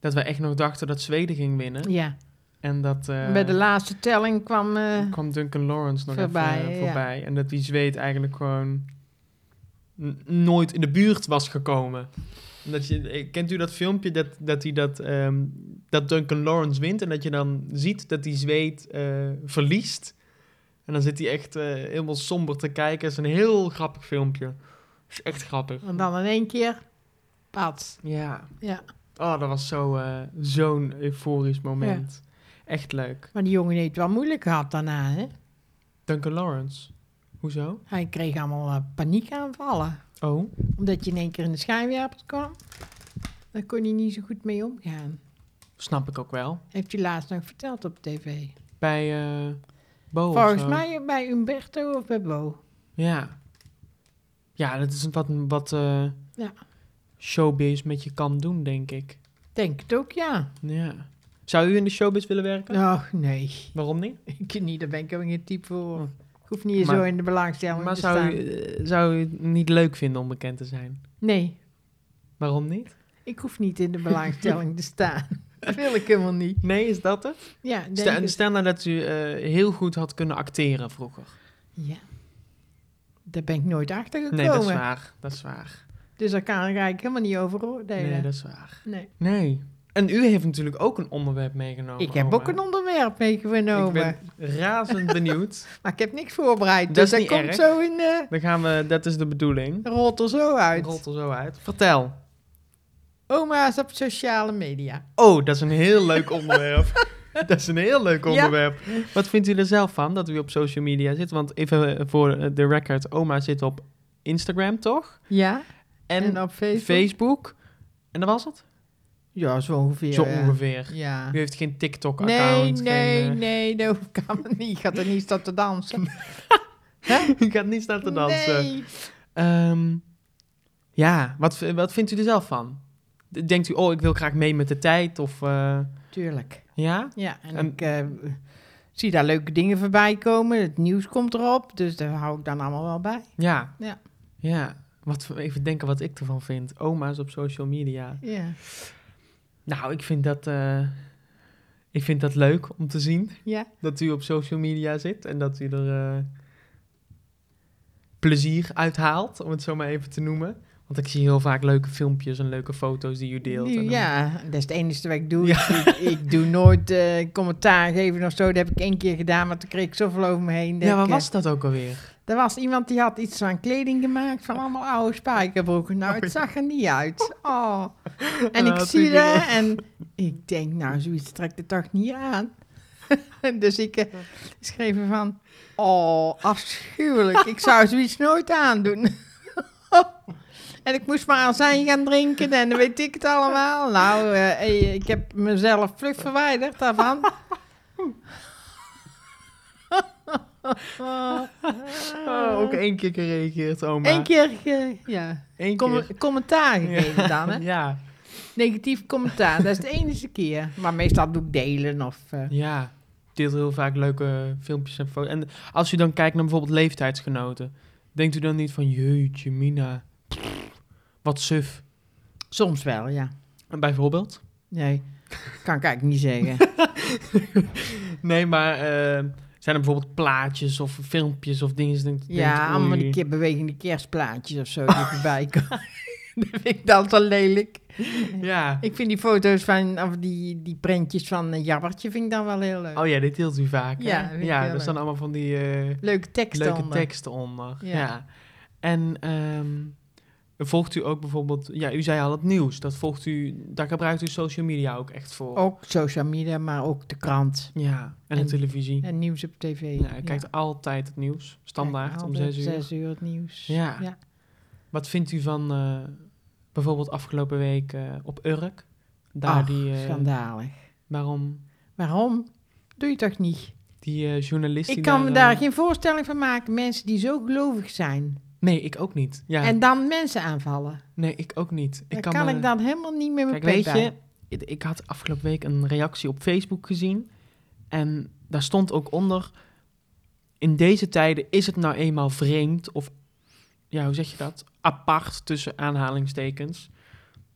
[SPEAKER 1] dat we echt nog dachten dat Zweden ging winnen.
[SPEAKER 2] Ja,
[SPEAKER 1] En dat eh,
[SPEAKER 2] Bij de laatste telling kwam... eh,
[SPEAKER 1] kwam Duncan Lawrence nog
[SPEAKER 2] Voorbij,
[SPEAKER 1] even eh,
[SPEAKER 2] ja.
[SPEAKER 1] voorbij. En dat die zweet eigenlijk gewoon n- nooit in de buurt was gekomen. Dat je, eh, kent u dat filmpje dat, dat, hij dat, ehm, dat Duncan Lawrence wint en dat je dan ziet dat die zweet eh, verliest? En dan zit hij echt eh, helemaal somber te kijken. Het is een heel grappig filmpje. is echt grappig.
[SPEAKER 2] en dan in één keer... Pat.
[SPEAKER 1] Ja.
[SPEAKER 2] Ja.
[SPEAKER 1] Oh, dat was zo, eh, zo'n euforisch moment. Echt leuk.
[SPEAKER 2] Maar die jongen heeft het wel moeilijk gehad daarna, hè?
[SPEAKER 1] Duncan Lawrence. Hoezo?
[SPEAKER 2] Hij kreeg allemaal eh, paniekaanvallen.
[SPEAKER 1] Oh.
[SPEAKER 2] Omdat je in één keer in de schijnwerpers kwam. Daar kon hij niet zo goed mee omgaan.
[SPEAKER 1] Snap ik ook wel.
[SPEAKER 2] Heeft hij laatst nog verteld op tv.
[SPEAKER 1] Bij eh Bo. of
[SPEAKER 2] Volgens
[SPEAKER 1] zo.
[SPEAKER 2] mij bij Umberto of bij Bo.
[SPEAKER 1] Ja. Ja, dat is wat, wat eh,
[SPEAKER 2] Ja.
[SPEAKER 1] showbiz met je kan doen, denk ik.
[SPEAKER 2] Denk het ook, ja.
[SPEAKER 1] Ja. Zou u in de showbiz willen werken?
[SPEAKER 2] Och, nee.
[SPEAKER 1] Waarom niet?
[SPEAKER 2] Ik niet, daar ben ik ook geen type voor. Ik hoef niet
[SPEAKER 1] Maar-
[SPEAKER 2] zo in de belangstelling
[SPEAKER 1] Maar
[SPEAKER 2] te
[SPEAKER 1] zou
[SPEAKER 2] staan.
[SPEAKER 1] u, eh, zou u het niet leuk vinden om bekend te zijn?
[SPEAKER 2] Nee,
[SPEAKER 1] Waarom niet?
[SPEAKER 2] ik hoef niet in de belangstelling te staan. Dat wil ik helemaal niet.
[SPEAKER 1] Nee, is dat het?
[SPEAKER 2] Ja, denk
[SPEAKER 1] Stel,
[SPEAKER 2] het.
[SPEAKER 1] stel nou dat u eh, heel goed had kunnen acteren vroeger.
[SPEAKER 2] ja. Daar ben ik nooit achter gekomen.
[SPEAKER 1] Nee, dat is waar. Dat is waar.
[SPEAKER 2] Dus daar kan ik eigenlijk helemaal niet over oordelen.
[SPEAKER 1] Nee, dat is waar.
[SPEAKER 2] Nee.
[SPEAKER 1] Nee. En u heeft natuurlijk ook een onderwerp meegenomen.
[SPEAKER 2] Ik heb
[SPEAKER 1] oma.
[SPEAKER 2] ook een onderwerp meegenomen,
[SPEAKER 1] Oh, Ik ben razend benieuwd.
[SPEAKER 2] maar ik heb niks voorbereid.
[SPEAKER 1] Dat
[SPEAKER 2] dus
[SPEAKER 1] is
[SPEAKER 2] dat
[SPEAKER 1] niet
[SPEAKER 2] komt
[SPEAKER 1] erg.
[SPEAKER 2] zo in, eh
[SPEAKER 1] Dan gaan we, dat is de bedoeling.
[SPEAKER 2] rolt er zo uit.
[SPEAKER 1] Rolt er zo uit. Vertel.
[SPEAKER 2] Oma's op sociale media.
[SPEAKER 1] Oh, dat is een heel leuk onderwerp. dat is een heel leuk
[SPEAKER 2] Ja.
[SPEAKER 1] onderwerp. Wat vindt u er zelf van dat u op social media zit? Want even eh, voor eh, de record, oma zit op Instagram, toch?
[SPEAKER 2] Ja,
[SPEAKER 1] En,
[SPEAKER 2] en, op Facebook.
[SPEAKER 1] Facebook. En dat was het?
[SPEAKER 2] Ja, zo ongeveer.
[SPEAKER 1] Zo
[SPEAKER 2] ja.
[SPEAKER 1] ongeveer.
[SPEAKER 2] Ja.
[SPEAKER 1] U heeft geen
[SPEAKER 2] Nee,
[SPEAKER 1] TikTok-account.
[SPEAKER 2] nee,
[SPEAKER 1] geen, eh,
[SPEAKER 2] nee, dat kan niet. Je gaat er niet staan te dansen.
[SPEAKER 1] U gaat niet staan te dansen.
[SPEAKER 2] Nee.
[SPEAKER 1] Ehm, ja, wat, v- wat vindt u er zelf van? D- Denkt u, oh, ik wil graag mee met de tijd? Of, eh,
[SPEAKER 2] Tuurlijk.
[SPEAKER 1] ja?
[SPEAKER 2] Ja, en,
[SPEAKER 1] En-
[SPEAKER 2] ik eh, zie daar leuke dingen voorbij komen. Het nieuws komt erop, dus daar hou ik dan allemaal wel bij.
[SPEAKER 1] Ja.
[SPEAKER 2] Ja.
[SPEAKER 1] Ja. Wat, voor- even denken wat ik ervan vind. Oma's op social media.
[SPEAKER 2] Ja,
[SPEAKER 1] Nou, ik vind dat, eh, ik vind dat leuk om te zien.
[SPEAKER 2] ja.
[SPEAKER 1] Dat u op social media zit en dat u er eh, plezier uit haalt, om het zo maar even te noemen. Want ik zie heel vaak leuke filmpjes en leuke foto's die u deelt.
[SPEAKER 2] Nu,
[SPEAKER 1] en dan-
[SPEAKER 2] ja, dat is het enige wat ik doe. Ik, ik doe nooit eh, commentaar geven of zo. Dat heb ik één keer gedaan, maar toen kreeg ik zoveel over me heen. dat
[SPEAKER 1] Ja, wat
[SPEAKER 2] ik, eh,
[SPEAKER 1] was dat ook alweer?
[SPEAKER 2] Er was iemand die had iets van kleding gemaakt van allemaal oude spijkerbroeken. Nou, het zag er niet uit. Oh. En
[SPEAKER 1] Ah,
[SPEAKER 2] ik
[SPEAKER 1] Oh, dat
[SPEAKER 2] zie
[SPEAKER 1] vind ik
[SPEAKER 2] dat en ik denk, nou, zoiets trekt het toch niet aan. dus ik eh, schreef ervan, oh, afschuwelijk. Ik zou zoiets nooit aandoen. en ik moest maar azijn gaan drinken en dan weet ik het allemaal. Nou, eh, hey, ik heb mezelf vlug verwijderd daarvan.
[SPEAKER 1] Oh, ook één keer gereageerd, oma.
[SPEAKER 2] Ah. Eén keer, eh, ja.
[SPEAKER 1] Eén
[SPEAKER 2] Com-
[SPEAKER 1] keer.
[SPEAKER 2] commentaar gegeven
[SPEAKER 1] Ja.
[SPEAKER 2] dan, hè?
[SPEAKER 1] Ja.
[SPEAKER 2] Negatief commentaar, dat is de enige keer. Maar meestal doe ik delen of... eh,
[SPEAKER 1] Ja, deelt heel vaak leuke filmpjes en foto's. En als u dan kijkt naar bijvoorbeeld leeftijdsgenoten, denkt u dan niet van jeetje mina, pff, wat suf?
[SPEAKER 2] soms wel, ja.
[SPEAKER 1] En bijvoorbeeld?
[SPEAKER 2] Nee, kan ik eigenlijk niet zeggen.
[SPEAKER 1] Nee, maar eh, zijn er bijvoorbeeld plaatjes of filmpjes of dingen? die je denkt,
[SPEAKER 2] ja,
[SPEAKER 1] denkt,
[SPEAKER 2] allemaal
[SPEAKER 1] oei.
[SPEAKER 2] die keer bewegende kerstplaatjes of zo die voorbij komen. dat vind ik dan zo lelijk.
[SPEAKER 1] Ja.
[SPEAKER 2] Ik vind die foto's van, of die, die prentjes van eh, Jabbertje vind ik dan wel heel leuk.
[SPEAKER 1] Oh ja, dit deelt u vaak. hè?
[SPEAKER 2] Ja, vind ik
[SPEAKER 1] ja
[SPEAKER 2] heel
[SPEAKER 1] daar
[SPEAKER 2] leuk.
[SPEAKER 1] staan allemaal van die eh,
[SPEAKER 2] Leuke tekst
[SPEAKER 1] leuke
[SPEAKER 2] dan.
[SPEAKER 1] teksten onder. Ja.
[SPEAKER 2] Ja.
[SPEAKER 1] En ehm, volgt u ook bijvoorbeeld, ja, u zei al het nieuws, dat volgt u, daar gebruikt u social media ook echt voor.
[SPEAKER 2] Ook social media, maar ook de krant
[SPEAKER 1] Ja, en,
[SPEAKER 2] Oh. En-
[SPEAKER 1] de televisie.
[SPEAKER 2] en nieuws op tv.
[SPEAKER 1] ja, hij kijkt altijd het nieuws, standaard
[SPEAKER 2] Kijk,
[SPEAKER 1] om
[SPEAKER 2] altijd
[SPEAKER 1] zes uur.
[SPEAKER 2] Zes uur het nieuws.
[SPEAKER 1] Ja.
[SPEAKER 2] ja.
[SPEAKER 1] Wat vindt u van eh, bijvoorbeeld afgelopen week eh, op Urk? Daar
[SPEAKER 2] Ach,
[SPEAKER 1] die, eh,
[SPEAKER 2] Schandalig.
[SPEAKER 1] waarom
[SPEAKER 2] Waarom? Doe je toch niet?
[SPEAKER 1] die eh, journalist...
[SPEAKER 2] Ik
[SPEAKER 1] die
[SPEAKER 2] kan me
[SPEAKER 1] eh,
[SPEAKER 2] daar geen voorstelling van maken. Mensen die zo gelovig zijn.
[SPEAKER 1] Nee, ik ook niet. Ja,
[SPEAKER 2] En dan mensen aanvallen.
[SPEAKER 1] nee, ik ook niet.
[SPEAKER 2] Daar
[SPEAKER 1] Ik
[SPEAKER 2] kan,
[SPEAKER 1] kan, me-
[SPEAKER 2] ik dan helemaal niet meer mijn
[SPEAKER 1] Kijk,
[SPEAKER 2] pet
[SPEAKER 1] weet
[SPEAKER 2] bij.
[SPEAKER 1] je, ik- ik had afgelopen week een reactie op Facebook gezien. En daar stond ook onder... In deze tijden is het nou eenmaal vreemd of... Ja, hoe zeg je dat? Apart tussen aanhalingstekens.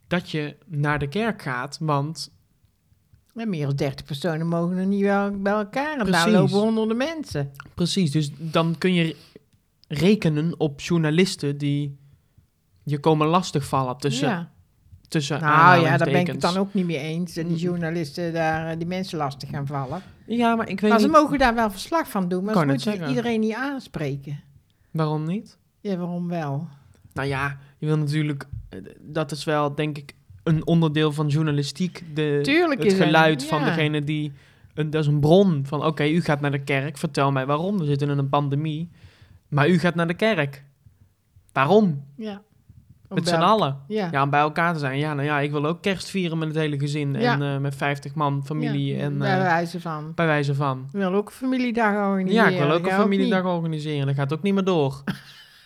[SPEAKER 1] Dat je naar de kerk gaat, want
[SPEAKER 2] En meer dan 30 personen mogen er niet wel- bij elkaar. En daar
[SPEAKER 1] Precies.
[SPEAKER 2] lopen honderden mensen.
[SPEAKER 1] Precies, dus dan kun je rekenen op journalisten die je komen lastigvallen tussen,
[SPEAKER 2] ja.
[SPEAKER 1] tussen
[SPEAKER 2] Nou ja, daar ben ik het dan
[SPEAKER 1] aanhalingstekens.
[SPEAKER 2] ook niet mee eens. Dat die
[SPEAKER 1] Mm.
[SPEAKER 2] journalisten daar eh, die mensen lastig gaan vallen.
[SPEAKER 1] Ja, maar ik weet
[SPEAKER 2] Maar ze
[SPEAKER 1] niet...
[SPEAKER 2] mogen daar wel verslag van doen. Maar
[SPEAKER 1] Kan
[SPEAKER 2] ze
[SPEAKER 1] net
[SPEAKER 2] moeten
[SPEAKER 1] zeggen.
[SPEAKER 2] iedereen niet aanspreken.
[SPEAKER 1] Waarom niet?
[SPEAKER 2] Ja, waarom wel?
[SPEAKER 1] Nou ja, je wil natuurlijk... eh, Dat is wel, denk ik, een onderdeel van journalistiek. De,
[SPEAKER 2] Tuurlijk
[SPEAKER 1] Eh, het
[SPEAKER 2] is er-
[SPEAKER 1] geluid van
[SPEAKER 2] ja.
[SPEAKER 1] degene die... Een, dat is een bron van, oké, u gaat naar de kerk, vertel mij waarom. We zitten in een pandemie, maar u gaat naar de kerk. Waarom?
[SPEAKER 2] Ja. Om
[SPEAKER 1] Met z'n
[SPEAKER 2] wel-
[SPEAKER 1] allen.
[SPEAKER 2] Ja.
[SPEAKER 1] Ja, om bij elkaar te zijn. Ja, nou ja, ik wil ook kerst vieren met het hele gezin.
[SPEAKER 2] Ja.
[SPEAKER 1] En eh, met 50 man, familie
[SPEAKER 2] Ja,
[SPEAKER 1] en eh,
[SPEAKER 2] Bij wijze van.
[SPEAKER 1] bij wijze van.
[SPEAKER 2] Ik wil ook een familiedag
[SPEAKER 1] Ja,
[SPEAKER 2] organiseren.
[SPEAKER 1] ik wil ook een
[SPEAKER 2] Ga
[SPEAKER 1] familiedag
[SPEAKER 2] niet.
[SPEAKER 1] organiseren. Dat gaat ook niet meer door.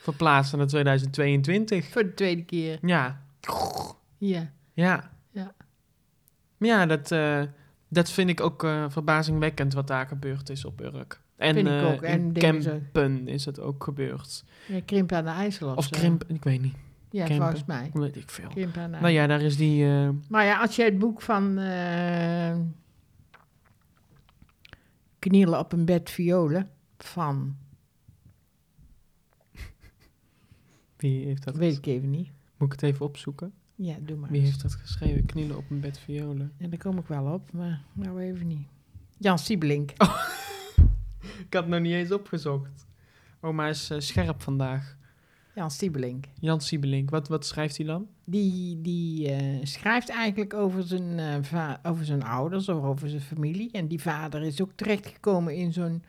[SPEAKER 1] Verplaatst naar 2022.
[SPEAKER 2] Voor de tweede keer.
[SPEAKER 1] Ja,
[SPEAKER 2] Ja.
[SPEAKER 1] ja.
[SPEAKER 2] Ja.
[SPEAKER 1] Maar ja, dat, eh, dat vind ik ook eh, verbazingwekkend wat daar gebeurd is op Urk. En
[SPEAKER 2] Vind ik
[SPEAKER 1] eh,
[SPEAKER 2] ook. En
[SPEAKER 1] in
[SPEAKER 2] dingen zo.
[SPEAKER 1] Kempen is het ook gebeurd.
[SPEAKER 2] Ja, krimp aan de IJssel of,
[SPEAKER 1] Of
[SPEAKER 2] zo.
[SPEAKER 1] Krimpen, ik weet niet.
[SPEAKER 2] Ja,
[SPEAKER 1] krimpen.
[SPEAKER 2] volgens mij.
[SPEAKER 1] Weet ik veel.
[SPEAKER 2] Krimp aan de
[SPEAKER 1] Nou ja, daar is die... eh,
[SPEAKER 2] Maar ja, als je het boek van eh, Knielen op een bed violen van,
[SPEAKER 1] wie heeft dat...
[SPEAKER 2] dat weet ik even niet.
[SPEAKER 1] Moet ik het even opzoeken?
[SPEAKER 2] Ja, doe maar.
[SPEAKER 1] Wie
[SPEAKER 2] eens.
[SPEAKER 1] heeft dat geschreven? Knielen op een bed violen.
[SPEAKER 2] Ja, daar kom ik wel op, maar nou even niet. Jan Siebelink.
[SPEAKER 1] Oh. Ik had het nog niet eens opgezocht. Oma is eh, scherp vandaag.
[SPEAKER 2] Jan Siebelink.
[SPEAKER 1] Jan Siebelink, wat, wat schrijft hij dan?
[SPEAKER 2] Die, die eh, schrijft eigenlijk over zijn, eh, va- over zijn ouders of over zijn familie. En die vader is ook terechtgekomen in zo'n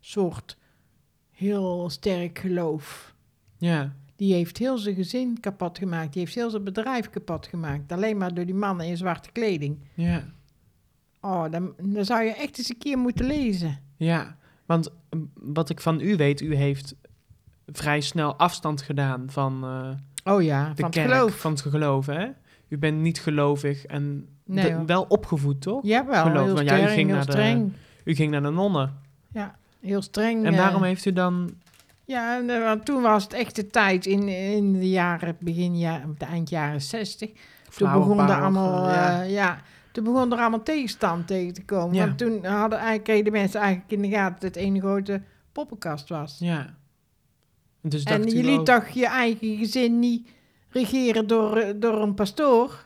[SPEAKER 2] soort heel sterk geloof.
[SPEAKER 1] Ja,
[SPEAKER 2] Die heeft heel zijn gezin kapot gemaakt. Die heeft heel zijn bedrijf kapot gemaakt. Alleen maar door die mannen in zwarte kleding.
[SPEAKER 1] ja,
[SPEAKER 2] Oh, dan, dan zou je echt eens een keer moeten lezen.
[SPEAKER 1] ja. Want mm, wat ik van u weet, u heeft vrij snel afstand gedaan van eh,
[SPEAKER 2] Oh ja,
[SPEAKER 1] de
[SPEAKER 2] van
[SPEAKER 1] kerk,
[SPEAKER 2] het geloof.
[SPEAKER 1] van het geloof, hè? U bent niet gelovig en
[SPEAKER 2] Nee,
[SPEAKER 1] de-
[SPEAKER 2] hoor.
[SPEAKER 1] wel opgevoed, toch?
[SPEAKER 2] Jawel,
[SPEAKER 1] geloof,
[SPEAKER 2] heel
[SPEAKER 1] want ja, u
[SPEAKER 2] streng,
[SPEAKER 1] ging
[SPEAKER 2] heel
[SPEAKER 1] naar de-
[SPEAKER 2] streng.
[SPEAKER 1] U ging naar de nonnen.
[SPEAKER 2] Ja, heel streng.
[SPEAKER 1] En
[SPEAKER 2] eh.
[SPEAKER 1] waarom heeft u dan...
[SPEAKER 2] Ja, en, eh, want toen was het echt de tijd in, in de jaren, begin ja, de eind jaren zestig. Toen
[SPEAKER 1] Flower
[SPEAKER 2] begon er
[SPEAKER 1] power,
[SPEAKER 2] allemaal,
[SPEAKER 1] eh, ja.
[SPEAKER 2] eh, ja, toen begon er allemaal tegenstand tegen te komen.
[SPEAKER 1] Ja.
[SPEAKER 2] Want toen hadden eigenlijk, kregen de mensen eigenlijk in de gaten dat het één grote poppenkast was.
[SPEAKER 1] Ja. Dus
[SPEAKER 2] En
[SPEAKER 1] dacht u
[SPEAKER 2] je
[SPEAKER 1] ook-
[SPEAKER 2] liet toch je eigen gezin niet regeren door, eh, door een pastoor?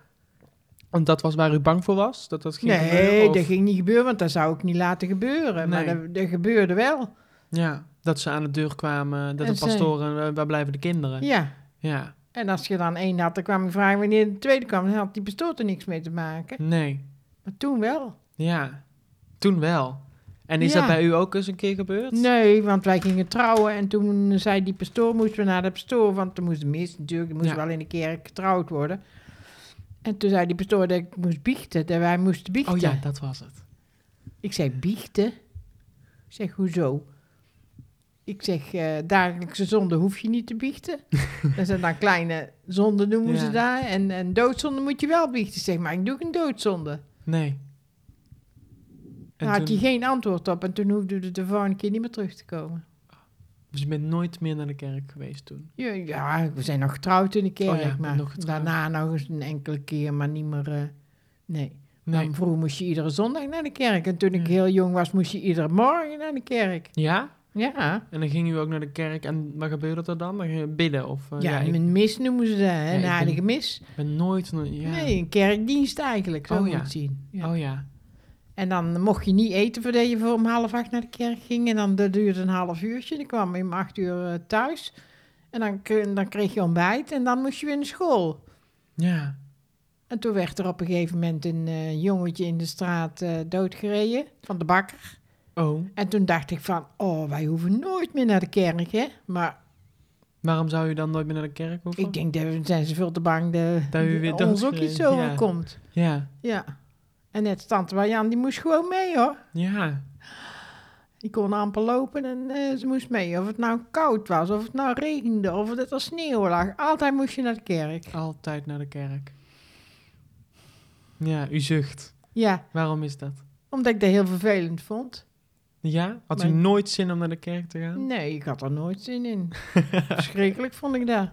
[SPEAKER 1] Want dat was waar u bang voor was? Dat dat ging
[SPEAKER 2] Nee,
[SPEAKER 1] gebeuren, of-
[SPEAKER 2] dat ging niet gebeuren, want dat zou ik niet laten gebeuren. Maar
[SPEAKER 1] Nee.
[SPEAKER 2] dat, dat gebeurde wel.
[SPEAKER 1] Ja, dat ze aan de deur kwamen, dat
[SPEAKER 2] En
[SPEAKER 1] de
[SPEAKER 2] zei-
[SPEAKER 1] pastoren, "Waar- waar blijven de kinderen? Ja.
[SPEAKER 2] Ja. En als je dan één had, dan kwam je vragen wanneer de tweede kwam. Dan had die pastoor er niks mee te maken.
[SPEAKER 1] nee,
[SPEAKER 2] Maar toen wel.
[SPEAKER 1] ja, toen wel. En is
[SPEAKER 2] Ja.
[SPEAKER 1] dat bij u ook eens een keer gebeurd?
[SPEAKER 2] Nee, want wij gingen trouwen. En toen zei die pastoor, moesten we naar de pastoor. Want er moest mis natuurlijk, er moest
[SPEAKER 1] Ja.
[SPEAKER 2] wel in de kerk getrouwd worden. En toen zei die pastoor dat ik moest biechten. Dat wij moesten biechten.
[SPEAKER 1] Oh ja, dat was het.
[SPEAKER 2] Ik zei biechten. Ik zeg, hoezo? Ik zeg, eh, dagelijkse zonde hoef je niet te biechten. dat zijn dan kleine zonden noemen
[SPEAKER 1] Ja.
[SPEAKER 2] ze daar. En, en doodzonde moet je wel biechten. Ik Zeg, maar ik doe geen doodzonde.
[SPEAKER 1] Nee. En
[SPEAKER 2] Daar had
[SPEAKER 1] toen-
[SPEAKER 2] hij geen antwoord op. En toen hoefde het de volgende keer niet meer terug te komen.
[SPEAKER 1] Dus je bent nooit meer naar de kerk geweest toen?
[SPEAKER 2] Ja, ja, we zijn nog getrouwd in de kerk.
[SPEAKER 1] Oh ja,
[SPEAKER 2] maar
[SPEAKER 1] nog getrouwd.
[SPEAKER 2] daarna nog eens een enkele keer, maar niet meer... eh, nee.
[SPEAKER 1] Nee.
[SPEAKER 2] Dan vroeger moest je iedere zondag naar de kerk. En toen ik
[SPEAKER 1] Ja.
[SPEAKER 2] heel jong was, moest je iedere morgen naar de kerk.
[SPEAKER 1] Ja?
[SPEAKER 2] Ja.
[SPEAKER 1] En dan ging u ook naar de kerk en wat gebeurde er dan? Dan ging je bidden? Of, eh,
[SPEAKER 2] Ja,
[SPEAKER 1] ik
[SPEAKER 2] een mis noemen ze dat,
[SPEAKER 1] Ja,
[SPEAKER 2] hè?
[SPEAKER 1] ik
[SPEAKER 2] een
[SPEAKER 1] ben-
[SPEAKER 2] heilige mis.
[SPEAKER 1] ben nooit... naar- Ja.
[SPEAKER 2] Nee, een kerkdienst eigenlijk, zo
[SPEAKER 1] Oh,
[SPEAKER 2] moet je
[SPEAKER 1] ja.
[SPEAKER 2] het zien. Ja.
[SPEAKER 1] Oh ja.
[SPEAKER 2] En dan mocht je niet eten voordat je voor om half acht naar de kerk ging. En dan dat duurde een half uurtje. Dan kwam je om acht uur eh, thuis. En dan, k- dan kreeg je ontbijt en dan moest je weer naar school.
[SPEAKER 1] Ja.
[SPEAKER 2] En toen werd er op een gegeven moment een eh, jongetje in de straat eh, doodgereden van de bakker.
[SPEAKER 1] Oh,
[SPEAKER 2] En toen dacht ik van, oh, wij hoeven nooit meer naar de kerk, hè. Maar
[SPEAKER 1] waarom zou u dan nooit meer naar de kerk hoeven?
[SPEAKER 2] ik denk, daar zijn ze veel te bang dat,
[SPEAKER 1] Dat u weer
[SPEAKER 2] ons ook iets
[SPEAKER 1] doodgereden- ja.
[SPEAKER 2] overkomt.
[SPEAKER 1] Ja.
[SPEAKER 2] Ja. En net tante Marjan, die moest gewoon mee hoor.
[SPEAKER 1] Ja.
[SPEAKER 2] Die kon amper lopen en eh, ze moest mee. Of het nou koud was, of het nou regende, of dat er sneeuw lag. Altijd moest je naar de kerk.
[SPEAKER 1] Altijd naar de kerk. Ja, u zucht.
[SPEAKER 2] Ja,
[SPEAKER 1] Waarom is dat?
[SPEAKER 2] omdat ik dat heel vervelend vond.
[SPEAKER 1] Ja? Had u
[SPEAKER 2] Mijn-
[SPEAKER 1] nooit zin om naar de kerk te gaan?
[SPEAKER 2] Nee, ik had er nooit zin in. Verschrikkelijk vond ik dat.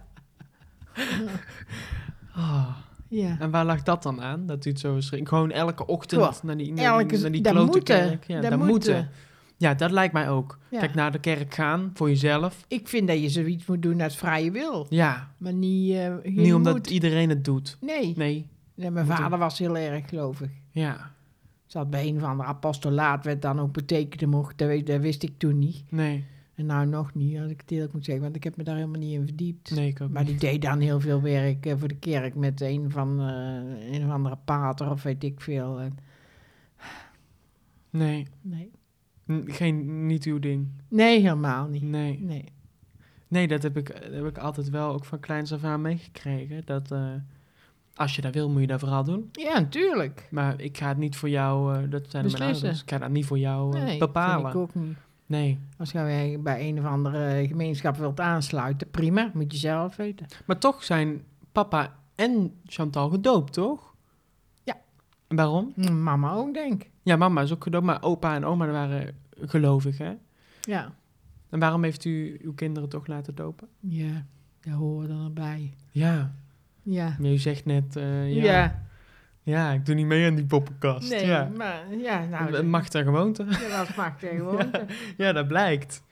[SPEAKER 1] Ah,
[SPEAKER 2] Ja.
[SPEAKER 1] En waar lag dat dan aan? Dat u het zo schrik? Gewoon elke ochtend
[SPEAKER 2] Goh,
[SPEAKER 1] naar die, naar
[SPEAKER 2] Elke,
[SPEAKER 1] die, naar die
[SPEAKER 2] daar
[SPEAKER 1] klote
[SPEAKER 2] moeten.
[SPEAKER 1] kerk. Ja,
[SPEAKER 2] daar
[SPEAKER 1] daar
[SPEAKER 2] moeten.
[SPEAKER 1] moeten. Ja, dat lijkt mij ook.
[SPEAKER 2] Ja.
[SPEAKER 1] Kijk, naar de kerk gaan voor jezelf.
[SPEAKER 2] Ik vind dat je zoiets moet doen uit vrije wil.
[SPEAKER 1] Ja,
[SPEAKER 2] Maar niet, eh, je
[SPEAKER 1] niet omdat
[SPEAKER 2] moet.
[SPEAKER 1] iedereen het doet.
[SPEAKER 2] Nee.
[SPEAKER 1] Nee,
[SPEAKER 2] nee, mijn
[SPEAKER 1] Moet
[SPEAKER 2] vader was heel erg gelovig.
[SPEAKER 1] ja,
[SPEAKER 2] Zat bij een of ander apostolaat, werd dan ook betekende mocht. Dat, weet- dat wist ik toen niet.
[SPEAKER 1] nee,
[SPEAKER 2] En nou nog niet, als ik het eerlijk moet zeggen. Want ik heb me daar helemaal niet in verdiept.
[SPEAKER 1] nee, ik ook
[SPEAKER 2] Dus Maar
[SPEAKER 1] niet.
[SPEAKER 2] die deed dan heel veel werk eh, voor de kerk met een van eh, een of andere pater of weet ik veel. En,
[SPEAKER 1] Nee,
[SPEAKER 2] nee.
[SPEAKER 1] N- geen, niet uw ding.
[SPEAKER 2] nee, helemaal niet.
[SPEAKER 1] Nee,
[SPEAKER 2] Nee.
[SPEAKER 1] nee dat, heb ik, dat heb ik altijd wel ook van kleins af aan meegekregen. Dat eh, als je dat wil, moet je dat vooral doen.
[SPEAKER 2] Ja, natuurlijk.
[SPEAKER 1] Maar ik ga het niet voor jou, eh, dat zijn mijn
[SPEAKER 2] Beslissen.
[SPEAKER 1] ouders. Ik ga dat niet voor jou eh,
[SPEAKER 2] Nee,
[SPEAKER 1] bepalen.
[SPEAKER 2] vind ik ook niet.
[SPEAKER 1] Nee.
[SPEAKER 2] Als jij bij een of andere gemeenschap wilt aansluiten, prima, moet je zelf weten.
[SPEAKER 1] Maar toch zijn papa en Chantal gedoopt, toch?
[SPEAKER 2] Ja.
[SPEAKER 1] En waarom?
[SPEAKER 2] Mama ook, denk ik.
[SPEAKER 1] Ja, mama is ook gedoopt, maar opa en oma waren gelovig, hè?
[SPEAKER 2] Ja.
[SPEAKER 1] En waarom heeft u uw kinderen toch laten dopen?
[SPEAKER 2] Ja, daar horen dan erbij.
[SPEAKER 1] Ja,
[SPEAKER 2] Ja.
[SPEAKER 1] maar u zegt net... eh,
[SPEAKER 2] Ja,
[SPEAKER 1] ja. Ja, ik doe niet mee aan die poppenkast.
[SPEAKER 2] nee,
[SPEAKER 1] ja.
[SPEAKER 2] maar ja, nou,
[SPEAKER 1] Eh, Macht en gewoonte.
[SPEAKER 2] dat was macht tegenwoordig.
[SPEAKER 1] ja, dat blijkt.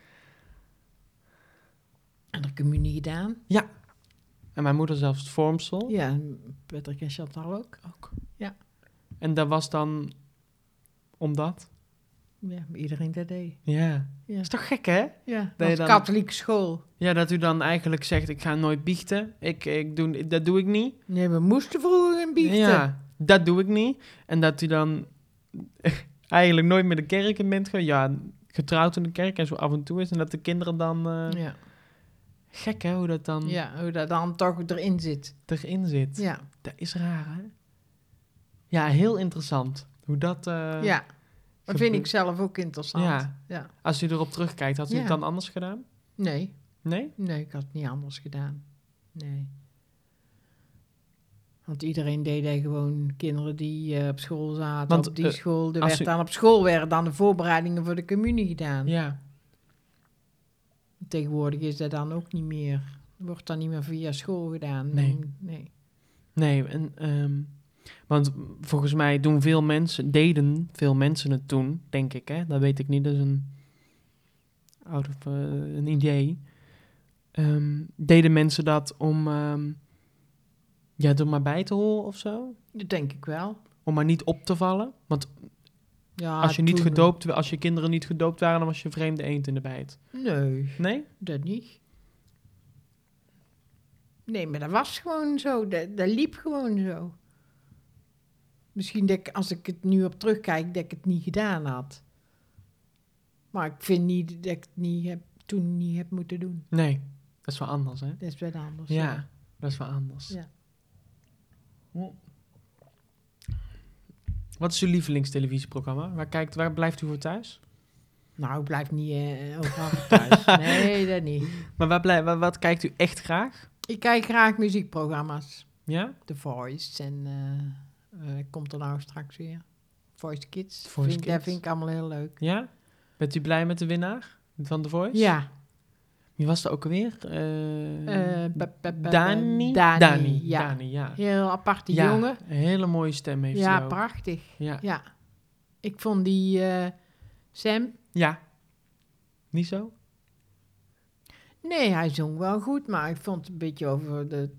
[SPEAKER 2] En de communie gedaan.
[SPEAKER 1] En mijn moeder zelfs het vormsel.
[SPEAKER 2] Ja, en Patrick en Chantal ook.
[SPEAKER 1] En dat was dan omdat...
[SPEAKER 2] Ja, iedereen dat deed.
[SPEAKER 1] Ja.
[SPEAKER 2] Ja.
[SPEAKER 1] Is toch gek, hè?
[SPEAKER 2] Ja,
[SPEAKER 1] je
[SPEAKER 2] was
[SPEAKER 1] dan-
[SPEAKER 2] katholieke school.
[SPEAKER 1] Ja, dat u dan eigenlijk zegt, ik ga nooit biechten. Ik, ik doe, dat doe ik niet.
[SPEAKER 2] Nee, we moesten vroeger een biechten.
[SPEAKER 1] Ja, dat doe ik niet. En dat u dan eigenlijk nooit meer de kerk in bent gegaan. Ja, getrouwd in de kerk en zo af en toe is. En dat de kinderen dan... eh,
[SPEAKER 2] ja.
[SPEAKER 1] Gek hè, hoe dat dan
[SPEAKER 2] Ja, hoe dat dan toch erin zit.
[SPEAKER 1] erin zit.
[SPEAKER 2] Ja,
[SPEAKER 1] Dat is raar hè? Ja, heel interessant. Hoe dat... eh,
[SPEAKER 2] ja. Dat vind ik zelf ook interessant.
[SPEAKER 1] Ja.
[SPEAKER 2] ja.
[SPEAKER 1] Als u erop terugkijkt, had u
[SPEAKER 2] Ja.
[SPEAKER 1] het dan anders gedaan?
[SPEAKER 2] Nee,
[SPEAKER 1] Nee?
[SPEAKER 2] nee, ik had het niet anders gedaan. Nee. Want iedereen deed hij gewoon kinderen die eh, op school zaten,
[SPEAKER 1] Want,
[SPEAKER 2] op die
[SPEAKER 1] eh,
[SPEAKER 2] school. Er
[SPEAKER 1] als
[SPEAKER 2] werd
[SPEAKER 1] u-
[SPEAKER 2] dan op school werden dan de voorbereidingen voor de communie gedaan.
[SPEAKER 1] Ja.
[SPEAKER 2] Tegenwoordig is dat dan ook niet meer. Wordt dan niet meer via school gedaan.
[SPEAKER 1] Nee.
[SPEAKER 2] nee.
[SPEAKER 1] Nee, en, ehm, want volgens mij doen veel mensen, deden veel mensen het toen, denk ik. Hè? Dat weet ik niet, dat is een, out of, eh, een idee. Ehm, deden mensen dat om ehm, ja, er maar bij te horen of zo?
[SPEAKER 2] Dat denk ik wel.
[SPEAKER 1] Om maar niet op te vallen? Want
[SPEAKER 2] Ja,
[SPEAKER 1] als, je niet
[SPEAKER 2] Ah, toen-
[SPEAKER 1] gedoopt, wa- als je kinderen niet gedoopt waren, dan was je vreemde eend in de bijt.
[SPEAKER 2] Nee.
[SPEAKER 1] Nee?
[SPEAKER 2] Dat niet. Nee, maar dat was gewoon zo. Dat, dat liep gewoon zo. Misschien dat ik, als ik het nu op terugkijk, dat ik het niet gedaan had. Maar ik vind niet dat ik het niet heb, toen niet heb moeten doen.
[SPEAKER 1] Nee, dat is wel anders, hè?
[SPEAKER 2] Dat is wel anders.
[SPEAKER 1] Ja, dat is wel anders.
[SPEAKER 2] Ja.
[SPEAKER 1] Hm. Wat is uw lievelingstelevisieprogramma? Waar, kijkt, waar blijft u voor thuis?
[SPEAKER 2] Nou, ik blijf niet eh, overal thuis. Nee, dat niet.
[SPEAKER 1] Maar waar blij, wa- wat kijkt u echt graag?
[SPEAKER 2] Ik kijk graag muziekprogramma's.
[SPEAKER 1] Ja?
[SPEAKER 2] The Voice en eh, eh, komt er nou straks weer. Voice Kids.
[SPEAKER 1] Voice
[SPEAKER 2] vind, Dat
[SPEAKER 1] Kids.
[SPEAKER 2] vind ik allemaal heel leuk.
[SPEAKER 1] Ja? Bent u blij met de winnaar van The Voice?
[SPEAKER 2] Ja.
[SPEAKER 1] Wie was dat ook alweer? Eh,
[SPEAKER 2] Eh, pe- pe- pe-
[SPEAKER 1] Dani?
[SPEAKER 2] Dani,
[SPEAKER 1] Dani,
[SPEAKER 2] ja.
[SPEAKER 1] Dani, ja.
[SPEAKER 2] Heel aparte
[SPEAKER 1] Ja,
[SPEAKER 2] jongen.
[SPEAKER 1] Een hele mooie stem heeft
[SPEAKER 2] Ja,
[SPEAKER 1] hij ook.
[SPEAKER 2] prachtig.
[SPEAKER 1] Ja.
[SPEAKER 2] Ja. Ik vond die eh, Sam...
[SPEAKER 1] ja. Niet zo?
[SPEAKER 2] Nee, hij zong wel goed, maar ik vond het een beetje over de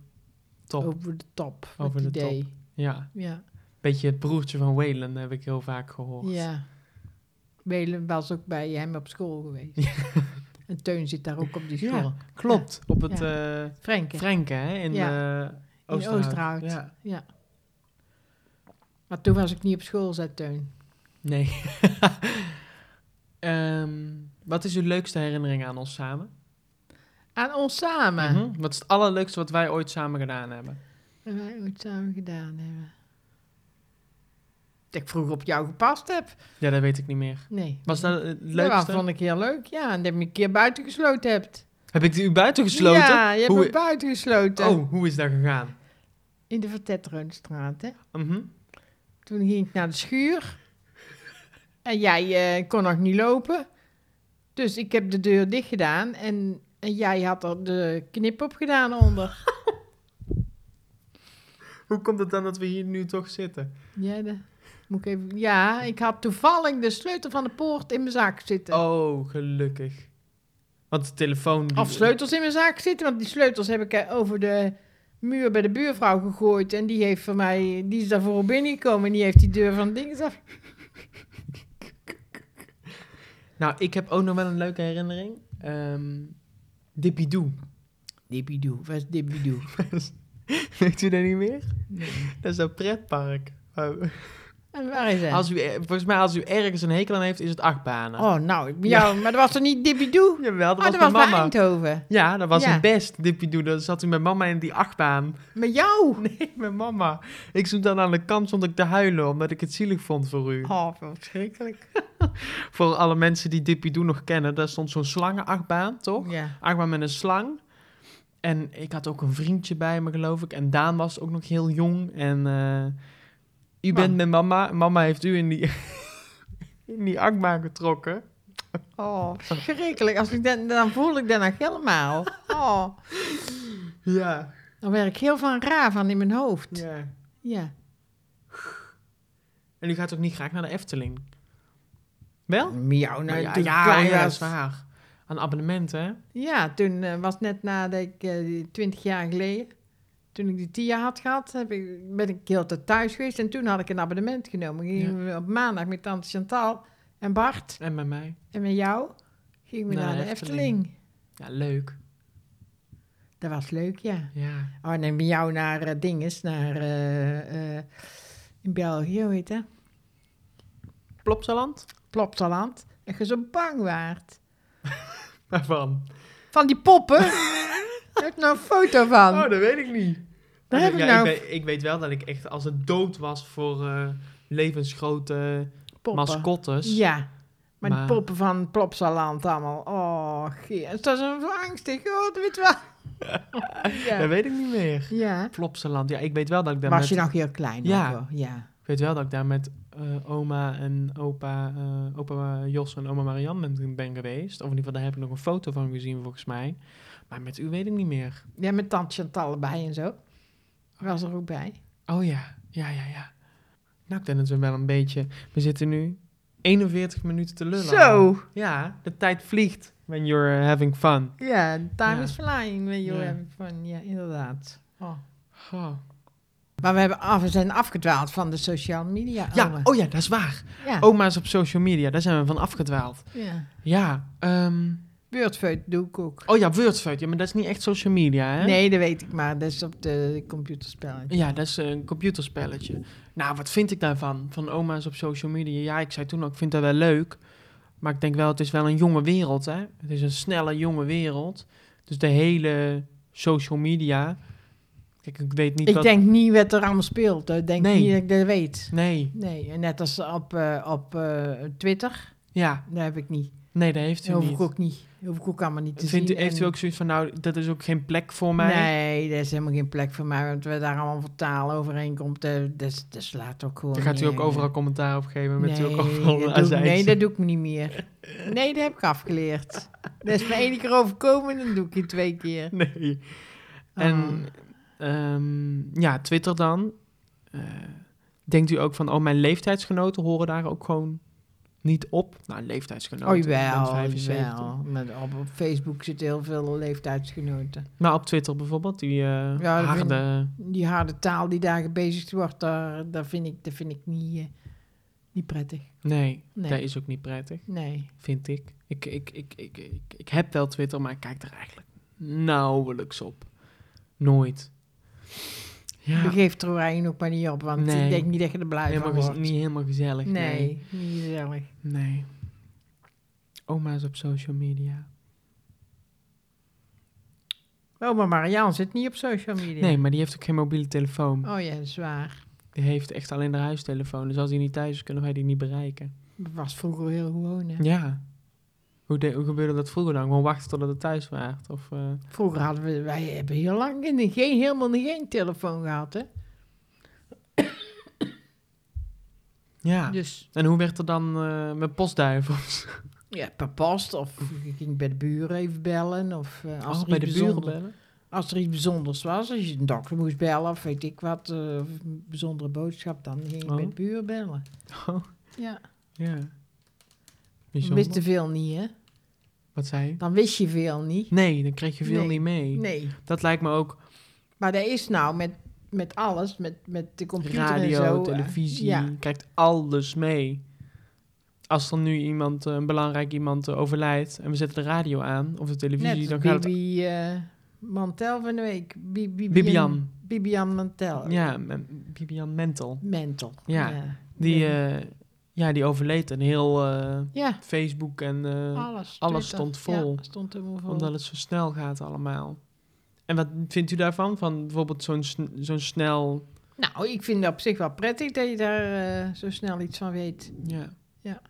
[SPEAKER 1] Top.
[SPEAKER 2] over de top.
[SPEAKER 1] Over
[SPEAKER 2] Over
[SPEAKER 1] de
[SPEAKER 2] de idee.
[SPEAKER 1] Ja.
[SPEAKER 2] Ja.
[SPEAKER 1] Beetje het broertje van Waylon heb ik heel vaak gehoord.
[SPEAKER 2] ja. Welen was ook bij hem op school geweest. en Teun zit daar ook op die school.
[SPEAKER 1] Ja, klopt. Op het... eh,
[SPEAKER 2] Frenkie.
[SPEAKER 1] Frenke, hè? In, eh Oosterhout.
[SPEAKER 2] Oosterhout.
[SPEAKER 1] Ja.
[SPEAKER 2] maar toen was ik niet op school, zei Teun.
[SPEAKER 1] Nee. Ehm, wat is uw leukste herinnering aan ons samen?
[SPEAKER 2] Aan ons samen.
[SPEAKER 1] Mhm. Wat is het allerleukste wat wij ooit samen gedaan hebben?
[SPEAKER 2] En wij ooit samen gedaan hebben. Dat ik vroeger op jou gepast heb.
[SPEAKER 1] Ja, dat weet ik niet meer.
[SPEAKER 2] Nee.
[SPEAKER 1] Was dat het
[SPEAKER 2] Ja, Dat
[SPEAKER 1] leukste?
[SPEAKER 2] vond ik heel leuk, ja. En dat je me een keer buiten gesloten hebt.
[SPEAKER 1] Heb ik u buiten gesloten?
[SPEAKER 2] Ja, je hebt
[SPEAKER 1] Hoe-
[SPEAKER 2] me buiten gesloten.
[SPEAKER 1] Oh, hoe is dat gegaan?
[SPEAKER 2] In de Vertetreunstraat, hè.
[SPEAKER 1] Mhm.
[SPEAKER 2] Toen ging ik naar de schuur. En jij eh, kon nog niet lopen. Dus ik heb de deur dicht gedaan. En, en jij had er de knip op gedaan onder.
[SPEAKER 1] Hoe komt het dan dat we hier nu toch zitten?
[SPEAKER 2] Ja, de- moet ik even... ja, ik had toevallig de sleutel van de poort in mijn zak zitten.
[SPEAKER 1] Oh, gelukkig. Want de telefoon... die-
[SPEAKER 2] Of sleutels in mijn zak zitten, want die sleutels heb ik eh, over de muur bij de buurvrouw gegooid. En die heeft van mij, die is daarvoor binnengekomen en die heeft die deur van dingen af.
[SPEAKER 1] Nou, ik heb ook nog wel een leuke herinnering. Ehm Dippidoe.
[SPEAKER 2] Dippidoe, waar is Dippidoe?
[SPEAKER 1] Weet u dat niet meer?
[SPEAKER 2] Nee.
[SPEAKER 1] Dat is dat pretpark. Oh.
[SPEAKER 2] En waar is hij?
[SPEAKER 1] Als u, eh, volgens mij, als u ergens een hekel aan heeft, is het achtbanen.
[SPEAKER 2] Oh, nou, ik ben jou, maar dat was toch niet Dippidoe?
[SPEAKER 1] Jawel, dat
[SPEAKER 2] Ah,
[SPEAKER 1] was
[SPEAKER 2] dat
[SPEAKER 1] mijn
[SPEAKER 2] was bij
[SPEAKER 1] mama.
[SPEAKER 2] Eindhoven.
[SPEAKER 1] Ja, dat was
[SPEAKER 2] Ja.
[SPEAKER 1] het best, Dippidoe. Dan zat u met mama in die achtbaan.
[SPEAKER 2] Met jou?
[SPEAKER 1] Nee, met mama. Ik stond dan aan de kant stond ik te huilen, omdat ik het zielig vond voor u.
[SPEAKER 2] Oh, verschrikkelijk.
[SPEAKER 1] Voor alle mensen die Dippidoe nog kennen, daar stond zo'n slangenachtbaan, toch?
[SPEAKER 2] Ja.
[SPEAKER 1] Achtbaan met een slang. En ik had ook een vriendje bij me, geloof ik. En Daan was ook nog heel jong. En eh, u
[SPEAKER 2] Nou.
[SPEAKER 1] bent met mama. Mama heeft u in die, in die achtbaan getrokken.
[SPEAKER 2] Oh, verschrikkelijk. Als ik dat, dan voel ik dat nog helemaal. Oh,
[SPEAKER 1] Ja,
[SPEAKER 2] dan werk ik heel van raar van in mijn hoofd. Ja.
[SPEAKER 1] ja.
[SPEAKER 2] ja.
[SPEAKER 1] En u gaat ook niet graag naar de Efteling? Wel?
[SPEAKER 2] Miauw, nou,
[SPEAKER 1] ja,
[SPEAKER 2] toen
[SPEAKER 1] ja,
[SPEAKER 2] kwam
[SPEAKER 1] ja,
[SPEAKER 2] dat-
[SPEAKER 1] dat is waar. Een abonnement, hè?
[SPEAKER 2] Ja, toen eh, was net nadat ik eh, twintig jaar geleden, toen ik die TIA had gehad, heb ik, ben ik heel tijd thuis geweest. En toen had ik een abonnement genomen. Gingen we op maandag met tante Chantal en Bart
[SPEAKER 1] En bij mij.
[SPEAKER 2] en met jou gingen we naar, de Efteling.
[SPEAKER 1] Ja, leuk.
[SPEAKER 2] Dat was leuk, ja.
[SPEAKER 1] Ja.
[SPEAKER 2] Oh, en met jou naar eh, dinges, naar eh, eh, in België, hoe heet dat?
[SPEAKER 1] Plopsaland?
[SPEAKER 2] Plopsaland. Dat je zo bang waart.
[SPEAKER 1] Waarvan?
[SPEAKER 2] Van die poppen. Daar heb ik nou een foto van.
[SPEAKER 1] Oh, dat weet ik niet.
[SPEAKER 2] Daar heb ik
[SPEAKER 1] ja,
[SPEAKER 2] nou
[SPEAKER 1] ik, weet, ik weet wel dat ik echt als het dood was voor eh, levensgrote
[SPEAKER 2] poppen.
[SPEAKER 1] mascottes.
[SPEAKER 2] Ja, maar,
[SPEAKER 1] Maar-
[SPEAKER 2] die poppen van Plopsaland allemaal. Oh, geer. Dat is een angstig, oh, dat weet je wel.
[SPEAKER 1] Dat
[SPEAKER 2] ja.
[SPEAKER 1] weet ik niet meer.
[SPEAKER 2] ja.
[SPEAKER 1] Plopsaland. Ja, ik weet wel dat ik daar
[SPEAKER 2] Was
[SPEAKER 1] met,
[SPEAKER 2] je nog heel klein?
[SPEAKER 1] Ja.
[SPEAKER 2] nog, hoor. ja.
[SPEAKER 1] ik weet wel dat ik daar met eh, oma en opa, eh, opa Jos en oma Marianne ben, ben geweest. Of in ieder geval, daar heb ik nog een foto van gezien volgens mij. Maar met u weet ik niet meer.
[SPEAKER 2] Ja, met tante Chantal erbij en zo. Was er ook bij.
[SPEAKER 1] Oh ja, ja, ja, ja. Nou, ik denk dat we wel een beetje... We zitten nu 41 minuten te lullen.
[SPEAKER 2] Zo.
[SPEAKER 1] Ja, de tijd vliegt when you're eh, having fun.
[SPEAKER 2] Ja, time
[SPEAKER 1] Ja.
[SPEAKER 2] is flying when you're
[SPEAKER 1] Ja.
[SPEAKER 2] having fun. Ja, inderdaad. Oh.
[SPEAKER 1] Oh.
[SPEAKER 2] Maar we, hebben af, we zijn afgedwaald van de social media.
[SPEAKER 1] Ja,
[SPEAKER 2] Owen.
[SPEAKER 1] oh ja, dat is waar.
[SPEAKER 2] ja.
[SPEAKER 1] Oma's op social media, daar zijn we van afgedwaald.
[SPEAKER 2] ja.
[SPEAKER 1] Ja, ehm,
[SPEAKER 2] Beurtfeut doe ik ook.
[SPEAKER 1] oh ja, Wordfeud. Ja, maar dat is niet echt social media, hè?
[SPEAKER 2] Nee, dat weet ik, maar dat is op de computerspelletje.
[SPEAKER 1] Ja, dat is eh, een computerspelletje. Nou, wat vind ik daarvan? Van oma's op social media? Ja, ik zei toen ook, ik vind dat wel leuk. Maar ik denk wel, het is wel een jonge wereld, hè? Het is een snelle, jonge wereld. Dus de hele social media... Kijk, ik weet niet
[SPEAKER 2] Ik
[SPEAKER 1] wat...
[SPEAKER 2] denk niet wat er allemaal speelt. Ik denk
[SPEAKER 1] Nee.
[SPEAKER 2] niet dat ik dat weet.
[SPEAKER 1] Nee,
[SPEAKER 2] Nee, en net als op, eh, op eh, Twitter,
[SPEAKER 1] ja.
[SPEAKER 2] dat heb ik niet.
[SPEAKER 1] Nee, dat heeft u
[SPEAKER 2] Dat hoef
[SPEAKER 1] niet.
[SPEAKER 2] ik ook niet. Dat hoef ik ook allemaal niet te
[SPEAKER 1] Vindt u,
[SPEAKER 2] zien.
[SPEAKER 1] heeft u
[SPEAKER 2] En-
[SPEAKER 1] ook zoiets van, nou, dat is ook geen plek voor mij?
[SPEAKER 2] Dus Nee, dat is helemaal geen plek voor mij, want we daar allemaal voor taal overeenkomt. eh, Dus dat slaat ook gewoon
[SPEAKER 1] Dan gaat u ook
[SPEAKER 2] nergens.
[SPEAKER 1] overal commentaar op geven met u ook
[SPEAKER 2] Nee,
[SPEAKER 1] overal
[SPEAKER 2] dat doe, ik-
[SPEAKER 1] azijns.
[SPEAKER 2] nee, dat doe ik me niet meer. Nee, dat heb ik afgeleerd. Dat is me één keer overkomen, dan doe ik het twee keer.
[SPEAKER 1] Nee. En
[SPEAKER 2] Oh.
[SPEAKER 1] ehm, ja, Twitter dan. Eh, denkt u ook van, oh, mijn leeftijdsgenoten horen daar ook gewoon niet op? Nou, leeftijdsgenoten.
[SPEAKER 2] Oh,
[SPEAKER 1] ik ben
[SPEAKER 2] jawel,
[SPEAKER 1] 75.
[SPEAKER 2] jawel. Met, op, op Facebook zitten heel veel leeftijdsgenoten.
[SPEAKER 1] Maar Nou, op Twitter bijvoorbeeld, die eh,
[SPEAKER 2] Ja, dat
[SPEAKER 1] harde...
[SPEAKER 2] Die harde taal die daar gebezigd wordt, daar, daar, vind, ik, daar vind ik niet, eh, niet prettig.
[SPEAKER 1] Nee,
[SPEAKER 2] Nee.
[SPEAKER 1] dat is ook niet prettig,
[SPEAKER 2] Nee.
[SPEAKER 1] vind ik. Ik, ik, ik, ik, ik. ik heb wel Twitter, maar ik kijk er eigenlijk nauwelijks op. Nooit. Ja,
[SPEAKER 2] Begeef er eigenlijk ook maar niet op, want
[SPEAKER 1] Nee.
[SPEAKER 2] ik denk niet dat je er blij
[SPEAKER 1] helemaal
[SPEAKER 2] van
[SPEAKER 1] gez-
[SPEAKER 2] wordt.
[SPEAKER 1] niet helemaal gezellig. nee.
[SPEAKER 2] nee, niet gezellig.
[SPEAKER 1] Nee. Oma's op social media.
[SPEAKER 2] Oh, maar Marianne zit niet op social media.
[SPEAKER 1] Nee, maar die heeft ook geen mobiele telefoon.
[SPEAKER 2] Oh ja, dat is waar.
[SPEAKER 1] Die heeft echt alleen haar huistelefoon. Dus als die niet thuis is, kunnen wij die niet bereiken.
[SPEAKER 2] Dat was vroeger heel gewoon, hè.
[SPEAKER 1] Ja. Hoe, de- hoe gebeurde dat vroeger dan? Gewoon wachten totdat het thuis waart? Of, eh,
[SPEAKER 2] Vroeger hadden we, wij hebben heel lang geen, geen- helemaal geen telefoon gehad, hè.
[SPEAKER 1] Ja.
[SPEAKER 2] Dus
[SPEAKER 1] En hoe werd er dan eh, met postduivels?
[SPEAKER 2] ja, per post of je ging bij de buren even bellen. Of eh, als
[SPEAKER 1] Als
[SPEAKER 2] er
[SPEAKER 1] Oh, bij
[SPEAKER 2] iets
[SPEAKER 1] de buren
[SPEAKER 2] bijzonders-
[SPEAKER 1] bellen?
[SPEAKER 2] Als er iets bijzonders was, als je een dokter moest bellen of weet ik wat, eh, of een bijzondere boodschap, dan ging je
[SPEAKER 1] Oh.
[SPEAKER 2] met de buur bellen.
[SPEAKER 1] Oh,
[SPEAKER 2] Ja,
[SPEAKER 1] ja.
[SPEAKER 2] dan
[SPEAKER 1] Bijzonder.
[SPEAKER 2] wist Nou, je veel niet, hè?
[SPEAKER 1] Wat zei je?
[SPEAKER 2] Dan wist je veel niet.
[SPEAKER 1] Nee, dan kreeg je veel
[SPEAKER 2] Nee.
[SPEAKER 1] niet mee.
[SPEAKER 2] Nee.
[SPEAKER 1] Dat lijkt me ook
[SPEAKER 2] Maar dat is nou met, met alles, met, met de computer en zo.
[SPEAKER 1] radio,
[SPEAKER 2] eh,
[SPEAKER 1] televisie,
[SPEAKER 2] Ja.
[SPEAKER 1] je krijgt alles mee. Als er nu iemand, eh, een belangrijk iemand eh, overlijdt en we zetten de radio aan of de televisie,
[SPEAKER 2] Net
[SPEAKER 1] dan
[SPEAKER 2] als
[SPEAKER 1] gaat het...
[SPEAKER 2] Bibi eh, Mantel van de week. Bi- Bibian-
[SPEAKER 1] Bibian.
[SPEAKER 2] Bibian Mantel.
[SPEAKER 1] Ja, M- Bibian Mentel.
[SPEAKER 2] Mental.
[SPEAKER 1] Ja.
[SPEAKER 2] Ja,
[SPEAKER 1] Die,
[SPEAKER 2] Ja.
[SPEAKER 1] eh, ja, die overleed en heel eh,
[SPEAKER 2] Ja,
[SPEAKER 1] Facebook en eh,
[SPEAKER 2] alles.
[SPEAKER 1] alles
[SPEAKER 2] Twitter.
[SPEAKER 1] stond vol.
[SPEAKER 2] Ja, stond helemaal vol.
[SPEAKER 1] omdat het zo snel gaat allemaal. En wat vindt u daarvan? Van bijvoorbeeld zo'n sn- zo'n snel...
[SPEAKER 2] Nou, ik vind het op zich wel prettig dat je daar eh, zo snel iets van weet.
[SPEAKER 1] Ja.
[SPEAKER 2] Ja.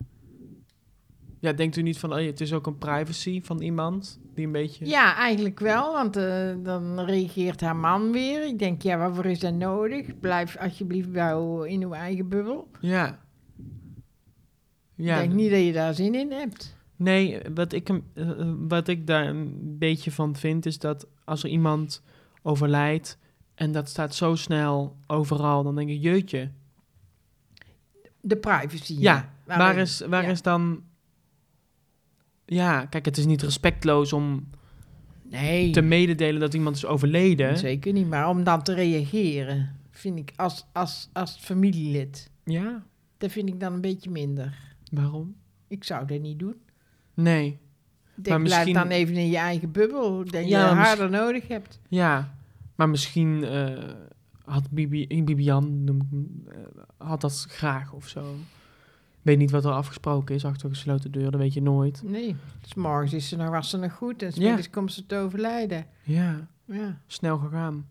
[SPEAKER 1] Ja, denkt u niet van, oh, ja, het is ook een privacy van iemand die een beetje...
[SPEAKER 2] Ja, eigenlijk wel, want eh, dan reageert haar man weer. Ik denk, ja, waarvoor is dat nodig? Blijf alsjeblieft bij jou in uw eigen bubbel.
[SPEAKER 1] Ja.
[SPEAKER 2] Ik
[SPEAKER 1] Ja,
[SPEAKER 2] denk niet dat je daar zin in hebt.
[SPEAKER 1] nee, wat ik, hem- eh, eh, wat ik daar een beetje van vind is dat als er iemand overlijdt en dat staat zo snel overal, dan denk ik, jeetje.
[SPEAKER 2] De privacy.
[SPEAKER 1] Ja,
[SPEAKER 2] Waarin-
[SPEAKER 1] waar is, waar
[SPEAKER 2] ja.
[SPEAKER 1] is dan... Ja, kijk, het is niet respectloos om
[SPEAKER 2] Nee,
[SPEAKER 1] te mededelen dat iemand is overleden.
[SPEAKER 2] zeker niet. Maar om dan te reageren, vind ik, als, als, als familielid,
[SPEAKER 1] Ja,
[SPEAKER 2] dat vind ik dan een beetje minder.
[SPEAKER 1] waarom?
[SPEAKER 2] Ik zou dat niet doen.
[SPEAKER 1] Nee,
[SPEAKER 2] Ik
[SPEAKER 1] Maar
[SPEAKER 2] denk, blijf
[SPEAKER 1] misschien-
[SPEAKER 2] dan even in je eigen bubbel, dat
[SPEAKER 1] Ja,
[SPEAKER 2] je
[SPEAKER 1] maar
[SPEAKER 2] harder nodig hebt.
[SPEAKER 1] Ja, maar misschien eh, had Bibi, Bibian noem ik hem, eh, had dat graag of zo. Ik weet niet wat er afgesproken is achter gesloten deuren, dat weet je nooit.
[SPEAKER 2] Nee, dus morgens is ze nog, was ze nog goed en
[SPEAKER 1] Ja.
[SPEAKER 2] smiddags komt ze te overlijden.
[SPEAKER 1] Ja,
[SPEAKER 2] Ja.
[SPEAKER 1] snel gegaan.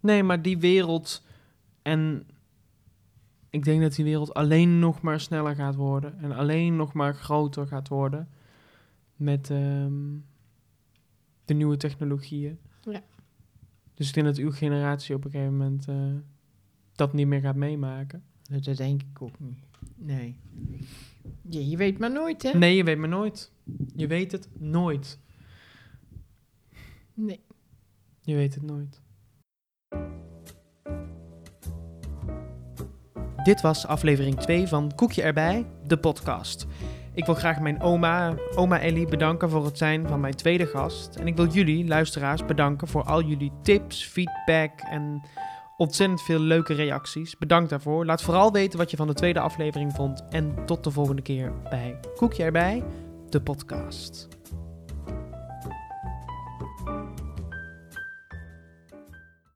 [SPEAKER 1] Nee, maar die wereld en ik denk dat die wereld alleen nog maar sneller gaat worden en alleen nog maar groter gaat worden met ehm, de nieuwe technologieën.
[SPEAKER 2] Ja.
[SPEAKER 1] Dus ik denk dat uw generatie op een gegeven moment eh, dat niet meer gaat meemaken.
[SPEAKER 2] Nou, Dat denk ik ook niet. Nee. Je, je weet maar nooit, hè?
[SPEAKER 1] Nee, je weet maar nooit. Je weet het nooit.
[SPEAKER 2] Nee.
[SPEAKER 1] Je weet het nooit.
[SPEAKER 3] Dit was aflevering 2 van Koekje erbij, de podcast. Ik wil graag mijn oma, oma Ellie, bedanken voor het zijn van mijn tweede gast. En ik wil jullie, luisteraars, bedanken voor al jullie tips, feedback en ontzettend veel leuke reacties. Bedankt daarvoor. Laat vooral weten wat je van de tweede aflevering vond. En tot de volgende keer bij Koekje erbij, de podcast.